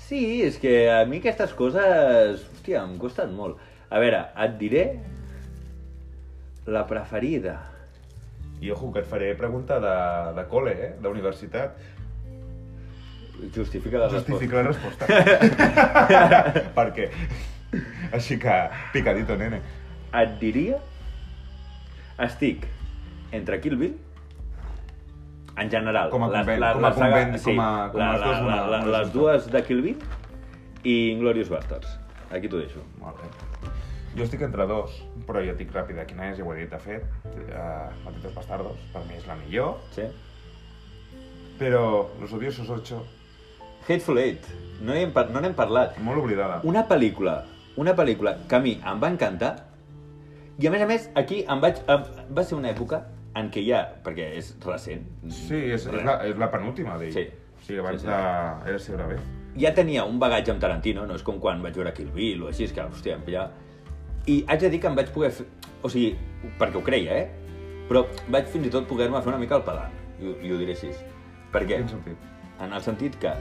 Speaker 1: Sí, és que a mi aquestes coses, hòstia, em costen molt. A veure, et diré la preferida.
Speaker 3: I ojo, que et faré pregunta de, de col·le, eh? D'universitat.
Speaker 1: Justifica la
Speaker 3: Justifica la resposta. [laughs] per què? Així que, picadito, nene.
Speaker 1: resposta. Et diria... Estic entre Kill Bill en general.
Speaker 3: Com a
Speaker 1: la-
Speaker 3: convent-
Speaker 1: la-
Speaker 3: com
Speaker 1: la
Speaker 3: a
Speaker 1: saga-
Speaker 3: convent, com a- com
Speaker 1: la-
Speaker 3: les dues
Speaker 1: la-
Speaker 3: una-
Speaker 1: la-
Speaker 3: una
Speaker 1: la- Les
Speaker 3: junta.
Speaker 1: dues de Kill Bill i Inglorious Bastards. Aquí t'ho deixo.
Speaker 3: Molt bé. Jo estic entre dos, però jo et dic ràpida quina és, ja ho he dit, de fet. Uh, Malditos Bastardos, per mi és la millor.
Speaker 1: Sí?
Speaker 3: Però Los Odiosos 8,
Speaker 1: Hateful Eight. No n'hem par- no n'hem parlat.
Speaker 3: molt oblidada.
Speaker 1: Una pel·lícula, una pel·lícula que a mi em va encantar i a més a més aquí em vaig... Em, va ser una època en què ja, perquè és recent,
Speaker 3: Sí, és, és, la, és la penúltima d'ell.
Speaker 1: Sí.
Speaker 3: Sí, abans
Speaker 1: Sí, sí.
Speaker 3: de... Era Segura B.
Speaker 1: ja tenia un bagatge amb Tarantino, no és com quan vaig veure Kill Bill o així, és que, hòstia, em pillava... I haig de dir que em vaig poder fer... O sigui, perquè ho creia, eh? Però vaig fins i tot poder-me fer una mica el pedant. i, ho- i ho diré així. Per què?
Speaker 3: Quin sentit?
Speaker 1: En el sentit que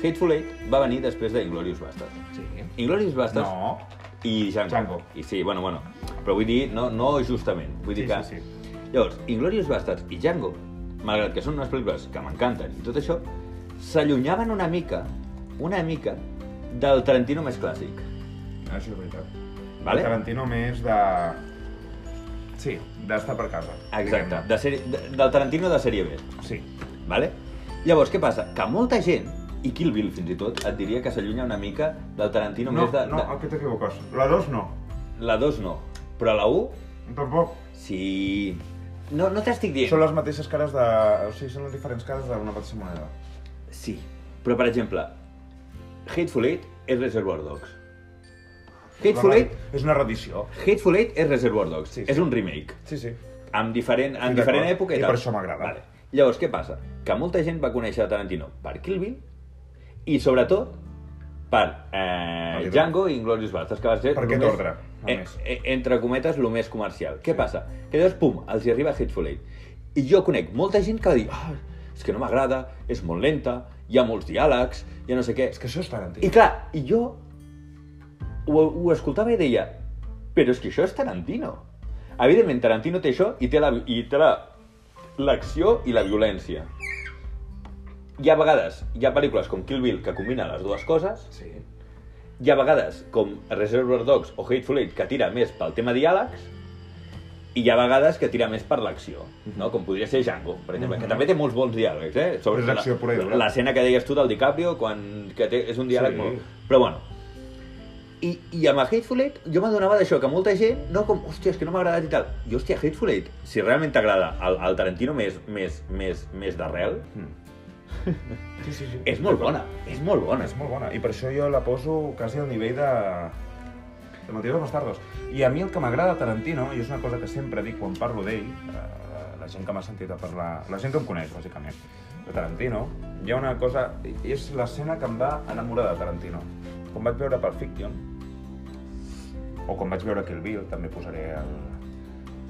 Speaker 1: Hateful Eight va venir després de Inglorious Bastards.
Speaker 3: Sí.
Speaker 1: Inglorious Bastards
Speaker 3: No.
Speaker 1: Doncs- i Django.
Speaker 3: Django.
Speaker 1: I sí, bueno, bueno. Però vull dir, no, no justament. Vull dir
Speaker 3: Sí,
Speaker 1: que...
Speaker 3: sí,
Speaker 1: Llavors, Inglorious Bastards i Django, malgrat que són unes pel·lícules que m'encanten i tot això, s'allunyaven una mica, una mica, del Tarantino més clàssic.
Speaker 3: Això és veritat.
Speaker 1: Vale?
Speaker 3: El Tarantino més de... Sí, d'estar per casa.
Speaker 1: Exacte,
Speaker 3: diguem-ne.
Speaker 1: de sèrie, de, del Tarantino de sèrie B.
Speaker 3: Sí.
Speaker 1: Vale? Llavors, què passa? Que molta gent, i Kill Bill fins i tot, et diria que s'allunya una mica del Tarantino
Speaker 3: No,
Speaker 1: més de...
Speaker 3: no, aquí t'equivoques. La 2 no.
Speaker 1: de... La 2 no, però la 1
Speaker 3: Tampoc.
Speaker 1: sí... No, no t'estic dient.
Speaker 3: Són les mateixes cares de... O sigui, són les diferents cares d'una mateixa moneda.
Speaker 1: Sí, però per exemple, Hateful Eight és Reservoir Dogs. Hateful Eight,
Speaker 3: És una redició.
Speaker 1: Hateful Eight és Reservoir Dogs,
Speaker 3: Sí,
Speaker 1: sí,
Speaker 3: sí.
Speaker 1: sí. és un remake,
Speaker 3: Sí, sí.
Speaker 1: amb diferent, en
Speaker 3: Sí,
Speaker 1: diferent
Speaker 3: d'acord.
Speaker 1: època
Speaker 3: I
Speaker 1: i
Speaker 3: per això m'agrada.
Speaker 1: Vale. Llavors, què passa? Que molta gent va conèixer Tarantino per Kill Bill i, sobretot, per eh,
Speaker 3: Oliver.
Speaker 1: Django i Inglourious Basterds, que va ser...
Speaker 3: Per
Speaker 1: lo
Speaker 3: aquest
Speaker 1: més-
Speaker 3: ordre,
Speaker 1: eh,
Speaker 3: només.
Speaker 1: eh, entre cometes, el més comercial. Què passa? Que llavors, pum, els hi arriba Hateful Eight. I jo conec molta gent que va dir, ah, és que no m'agrada, és molt lenta, hi ha molts diàlegs, hi ha no sé què.
Speaker 3: És que això és Tarantino.
Speaker 1: I clar, i jo ho, ho escoltava i deia, però és que això és Tarantino. Evidentment, Tarantino té això i té la- i té la- l'acció la, i la violència. Hi ha vegades, hi ha pel·lícules com Kill Bill que combina les dues coses,
Speaker 3: Sí.
Speaker 1: hi ha vegades com Reservoir Dogs o Hateful Eight que tira més pel tema diàlegs, i hi ha vegades que tira més per l'acció, no? com podria ser Django, per exemple, que també té molts bons diàlegs. Eh?
Speaker 3: Però Mm-hmm. és acció pura i dura.
Speaker 1: la- L'escena que deies tu del DiCaprio, quan, que té, és un diàleg
Speaker 3: Sí.
Speaker 1: sí. molt... Però bueno, i, i amb el Hateful Eight jo m'adonava d'això, que molta gent, no com, hòstia, és que no m'ha agradat i tal. I hòstia, Hateful Eight, si realment t'agrada el, el Tarantino més, més, més, més d'arrel,
Speaker 3: Mm.
Speaker 1: [laughs]
Speaker 3: Sí, sí, sí.
Speaker 1: és molt bona, és molt bona.
Speaker 3: És molt bona. I per això jo la poso quasi al nivell de... de Motius de Bastardos. I a mi el que m'agrada de Tarantino, i és una cosa que sempre dic quan parlo d'ell, eh, la gent que m'ha sentit a parlar... la gent que em coneix, bàsicament, de Tarantino, hi ha una cosa... és l'escena que em va enamorar de Tarantino. Quan vaig veure Pulp Fiction, o quan vaig veure Kill Bill, també posaré el...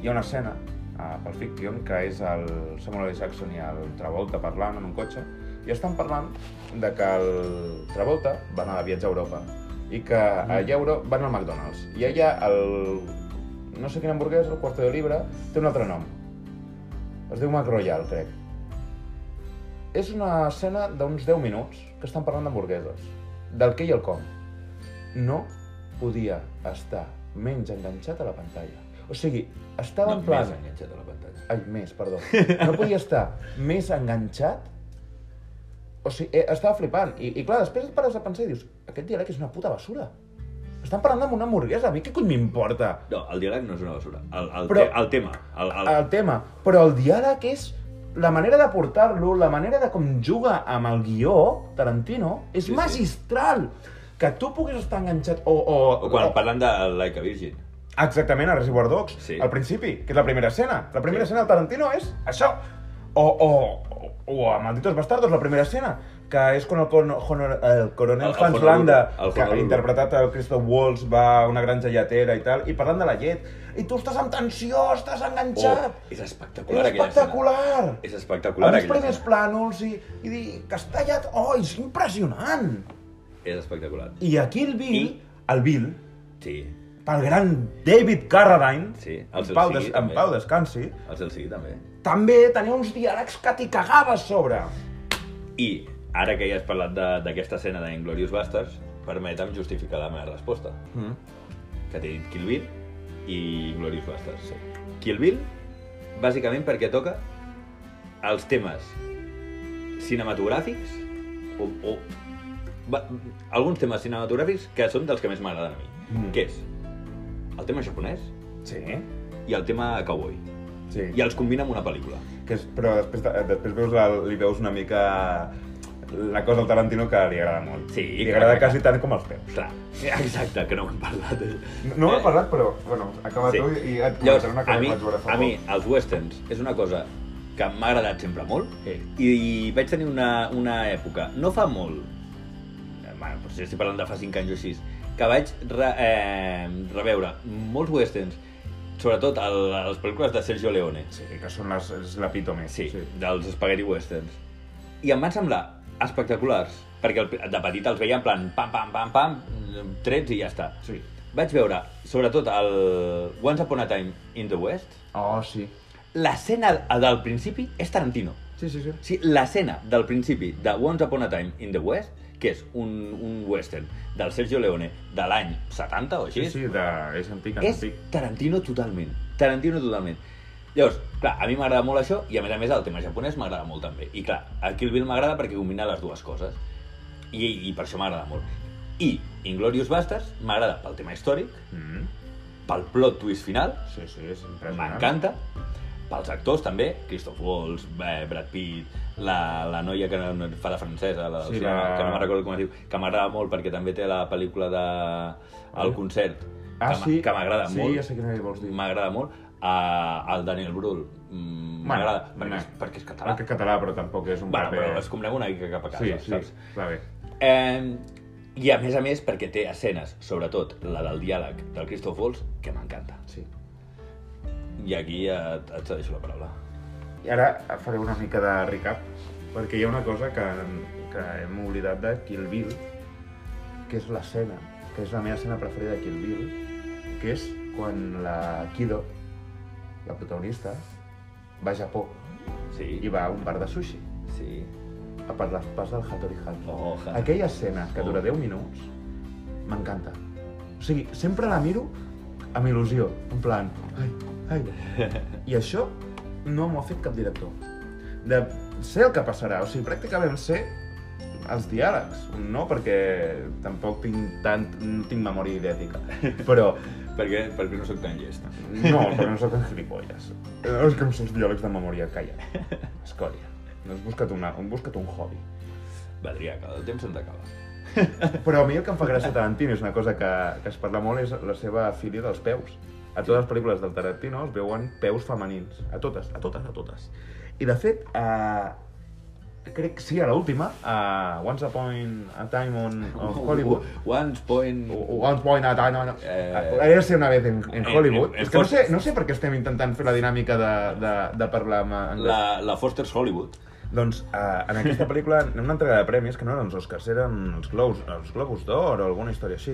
Speaker 3: Hi ha una escena a Pulp Fiction que és el Samuel L. Jackson i el Travolta parlant en un cotxe i estan parlant de que el Travolta va anar de viatge a Europa i que allà a Europa van al McDonald's i allà el... no sé quin hamburguesa, el Quarto de Libre, té un altre nom. Es diu Mac Royal, crec. És una escena d'uns 10 minuts que estan parlant d'hamburgueses, del què i el com no podia estar menys enganxat a la pantalla. O sigui, estava en plan...
Speaker 1: més enganxat a la pantalla.
Speaker 3: Ai, més, perdó. No podia estar més enganxat. O sigui, eh, estava flipant. I, I clar, després et pares a pensar i dius, aquest diàleg és una puta basura. Estan parlant amb una hamburguesa, a mi què cony m'importa?
Speaker 1: No, el diàleg no és una basura. El, el,
Speaker 3: Però-
Speaker 1: te, el tema. El, el,
Speaker 3: El tema, però el diàleg és la manera de portar-lo, la manera de com juga amb el guió, Tarantino, és
Speaker 1: Sí, sí.
Speaker 3: magistral. Que tu puguis estar enganxat o... O,
Speaker 1: O quan parlen de Like a Virgin.
Speaker 3: Exactament, a Reservoir Dogs, sí.
Speaker 1: Sí.
Speaker 3: al principi, que és la primera escena. La primera
Speaker 1: Sí.
Speaker 3: escena del Tarantino és això. O, o, o, o a Malditos Bastardos, la primera escena, que és quan el, con, honor, el coronel
Speaker 1: El- el
Speaker 3: Hans
Speaker 1: Honolulu,
Speaker 3: Landa,
Speaker 1: el
Speaker 3: que ha
Speaker 1: Honolulu.
Speaker 3: interpretat el Christoph Waltz, va a una granja lletera i tal, i parlant de la llet, i tu estàs amb tensió, estàs enganxat.
Speaker 1: Oh, és espectacular
Speaker 3: és
Speaker 1: aquella
Speaker 3: espectacular!
Speaker 1: escena. És espectacular
Speaker 3: Amb els
Speaker 1: aquella
Speaker 3: primers
Speaker 1: escena.
Speaker 3: plànols i, i dir que està llet... Oh, és impressionant!
Speaker 1: És espectacular.
Speaker 3: I aquí el Bill,
Speaker 1: I-
Speaker 3: el Bill,
Speaker 1: Sí,
Speaker 3: pel gran David Carradine,
Speaker 1: Sí, el
Speaker 3: en, pau
Speaker 1: Celsi,
Speaker 3: des, en
Speaker 1: també.
Speaker 3: pau descansi,
Speaker 1: el Celsi també.
Speaker 3: també tenia uns diàlegs que t'hi cagaves sobre.
Speaker 1: I ara que ja has parlat de- d'aquesta escena d'Inglorious Basterds, permetem justificar la meva resposta,
Speaker 3: Mm.
Speaker 1: que t'he dit Kill Bill i Inglorious Basterds. Sí. Kill Bill, bàsicament perquè toca els temes cinematogràfics o, o va, alguns temes cinematogràfics que són dels que més m'agraden a mi,
Speaker 3: Mm.
Speaker 1: mm. que és el tema japonès
Speaker 3: Sí.
Speaker 1: i el tema cowboy.
Speaker 3: Sí.
Speaker 1: I els combina amb una pel·lícula.
Speaker 3: Que és, però després, eh, després veus la, li veus una mica la cosa al Tarantino que li agrada molt.
Speaker 1: Sí,
Speaker 3: Li
Speaker 1: clar,
Speaker 3: agrada
Speaker 1: clar.
Speaker 3: quasi tant com els peus.
Speaker 1: Clar, exacte, que no hem parlat. eh.
Speaker 3: No ho he parlat, però bueno, acaba
Speaker 1: Sí.
Speaker 3: tu i et
Speaker 1: Llavors,
Speaker 3: comentaré una
Speaker 1: a
Speaker 3: cosa
Speaker 1: mi,
Speaker 3: que vaig veure fa
Speaker 1: a mi, els westerns és una cosa que m'ha agradat sempre molt
Speaker 3: Sí.
Speaker 1: i vaig tenir una, una època, no fa molt, eh, bueno, potser estic parlant de fa 5 anys o 6, que vaig re, eh, reveure molts westerns sobretot a la- les pel·lícules de Sergio Leone.
Speaker 3: Sí, que són les, és l'epítome.
Speaker 1: Sí, sí, dels Spaghetti Westerns. I em van semblar espectaculars, perquè el- de petit els veia en plan pam, pam, pam, pam, trets i ja està.
Speaker 3: Sí.
Speaker 1: Vaig veure, sobretot, el Once Upon a Time in the West.
Speaker 3: Oh, sí.
Speaker 1: L'escena del principi és Tarantino.
Speaker 3: Sí, sí, sí.
Speaker 1: O sigui, l'escena del principi de Once Upon a Time in the West, que és un, un western del Sergio Leone de l'any 70 o així,
Speaker 3: Sí, sí, de... és antic,
Speaker 1: és
Speaker 3: antic.
Speaker 1: Tarantino totalment. Tarantino totalment. Llavors, clar, a mi m'agrada molt això i a més a més el tema japonès m'agrada molt també. I clar, el Kill Bill m'agrada perquè combina les dues coses. I, i per això m'agrada molt. I Inglorious Basterds m'agrada pel tema històric,
Speaker 3: Mm.
Speaker 1: pel plot twist final,
Speaker 3: Sí, sí, és impressionant.
Speaker 1: m'encanta, pels actors també, Christoph Waltz, eh, Brad Pitt, la, la noia que no- no- fa de francesa, la,
Speaker 3: Sí,
Speaker 1: sí, la...
Speaker 3: la-
Speaker 1: que no me'n recordo com es diu, que m'agrada molt perquè també té la pel·lícula de... El concert,
Speaker 3: Ah,
Speaker 1: que m'a-
Speaker 3: sí?
Speaker 1: que m'agrada
Speaker 3: sí,
Speaker 1: molt
Speaker 3: Sí, ja sé quina li vols dir.
Speaker 1: m'agrada molt a, al Daniel Brühl mm, m'agrada perquè, és- perquè és català
Speaker 3: Perquè és català, però tampoc és un
Speaker 1: bueno,
Speaker 3: paper...
Speaker 1: però es combrem una mica cap a casa
Speaker 3: Sí, sí,
Speaker 1: saps?
Speaker 3: va bé.
Speaker 1: Eh, i a més a més perquè té escenes sobretot la del diàleg del Christoph Waltz que m'encanta
Speaker 3: Sí.
Speaker 1: i aquí et, et deixo la paraula
Speaker 3: I ara faré una mica de recap, perquè hi ha una cosa que, que hem oblidat de Kill Bill, que és l'escena, que és la meva escena preferida de Kill Bill, que és quan la Kido, la protagonista, va a Japó i
Speaker 1: sí,
Speaker 3: va a un bar de sushi
Speaker 1: sí
Speaker 3: a per les pas del Hattori Hattori.
Speaker 1: Oh, Hattori.
Speaker 3: Aquella escena que
Speaker 1: Oh.
Speaker 3: dura 10 minuts m'encanta. O sigui, sempre la miro amb il·lusió, en plan... Ai, ai. I això no m'ho ha fet cap director. De sé el que passarà, o sigui, pràcticament sé els diàlegs, no? Perquè tampoc tinc tant... no tinc memòria idètica. Però
Speaker 1: perquè, perquè no sóc tan llest
Speaker 3: no, però no sóc un gilipolles. Eh, És que em sé els diàlegs de memòria, calla. Escòria. No has buscat, una, has buscat un hobby.
Speaker 1: Badrià, que el temps se'ns acaba
Speaker 3: Però a mi el que em fa gràcia a Tarantino és una cosa que, que es parla molt, és la seva filia dels peus. A totes les pel·lícules del Tarantino es veuen peus femenins. A totes, a totes, a totes. I de fet, eh, crec que sí, a l'última, a Once Upon a Time on, on Oh, Hollywood, Oh.
Speaker 1: Once Point
Speaker 3: Once Upon a Time on...
Speaker 1: Eh,
Speaker 3: Eh, era ser una vez en, en
Speaker 1: eh,
Speaker 3: Hollywood.
Speaker 1: eh,
Speaker 3: És que no sé, no sé per què estem intentant fer la dinàmica de, de, de parlar en anglès.
Speaker 1: la, la Foster's Hollywood
Speaker 3: Doncs eh, en aquesta pel·lícula, en una entrega de premis, que no eren els Oscars, eren els Globus, els Globus d'Or o alguna història així,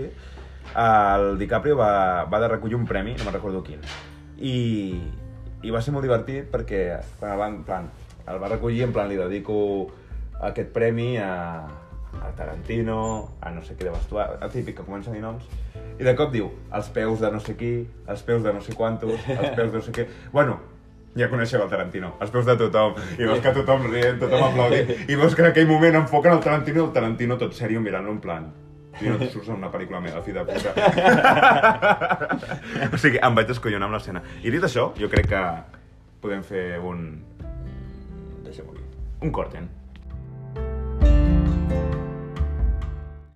Speaker 3: el DiCaprio va, va de recollir un premi, no me'n recordo quin. I, I va ser molt divertit perquè quan el, va, en plan, el va recollir, en plan, li dedico aquest premi a, a Tarantino, a no sé què de vestuari, el típic que comença a dir noms, i de cop diu, els peus de no sé qui, els peus de no sé quantos, els peus de no sé què... Bueno, ja coneixeu el Tarantino, els peus de tothom, i veus que tothom rient, tothom aplaudint, i veus que en aquell moment enfoquen el Tarantino i el Tarantino tot sèrio mirant-lo en plan tu no te surts en una pel·lícula meva, fi de puta. o sigui, em vaig descollonar amb l'escena. I dit això, jo crec que podem fer un,
Speaker 1: deixem-ho aquí
Speaker 3: un eh? corten.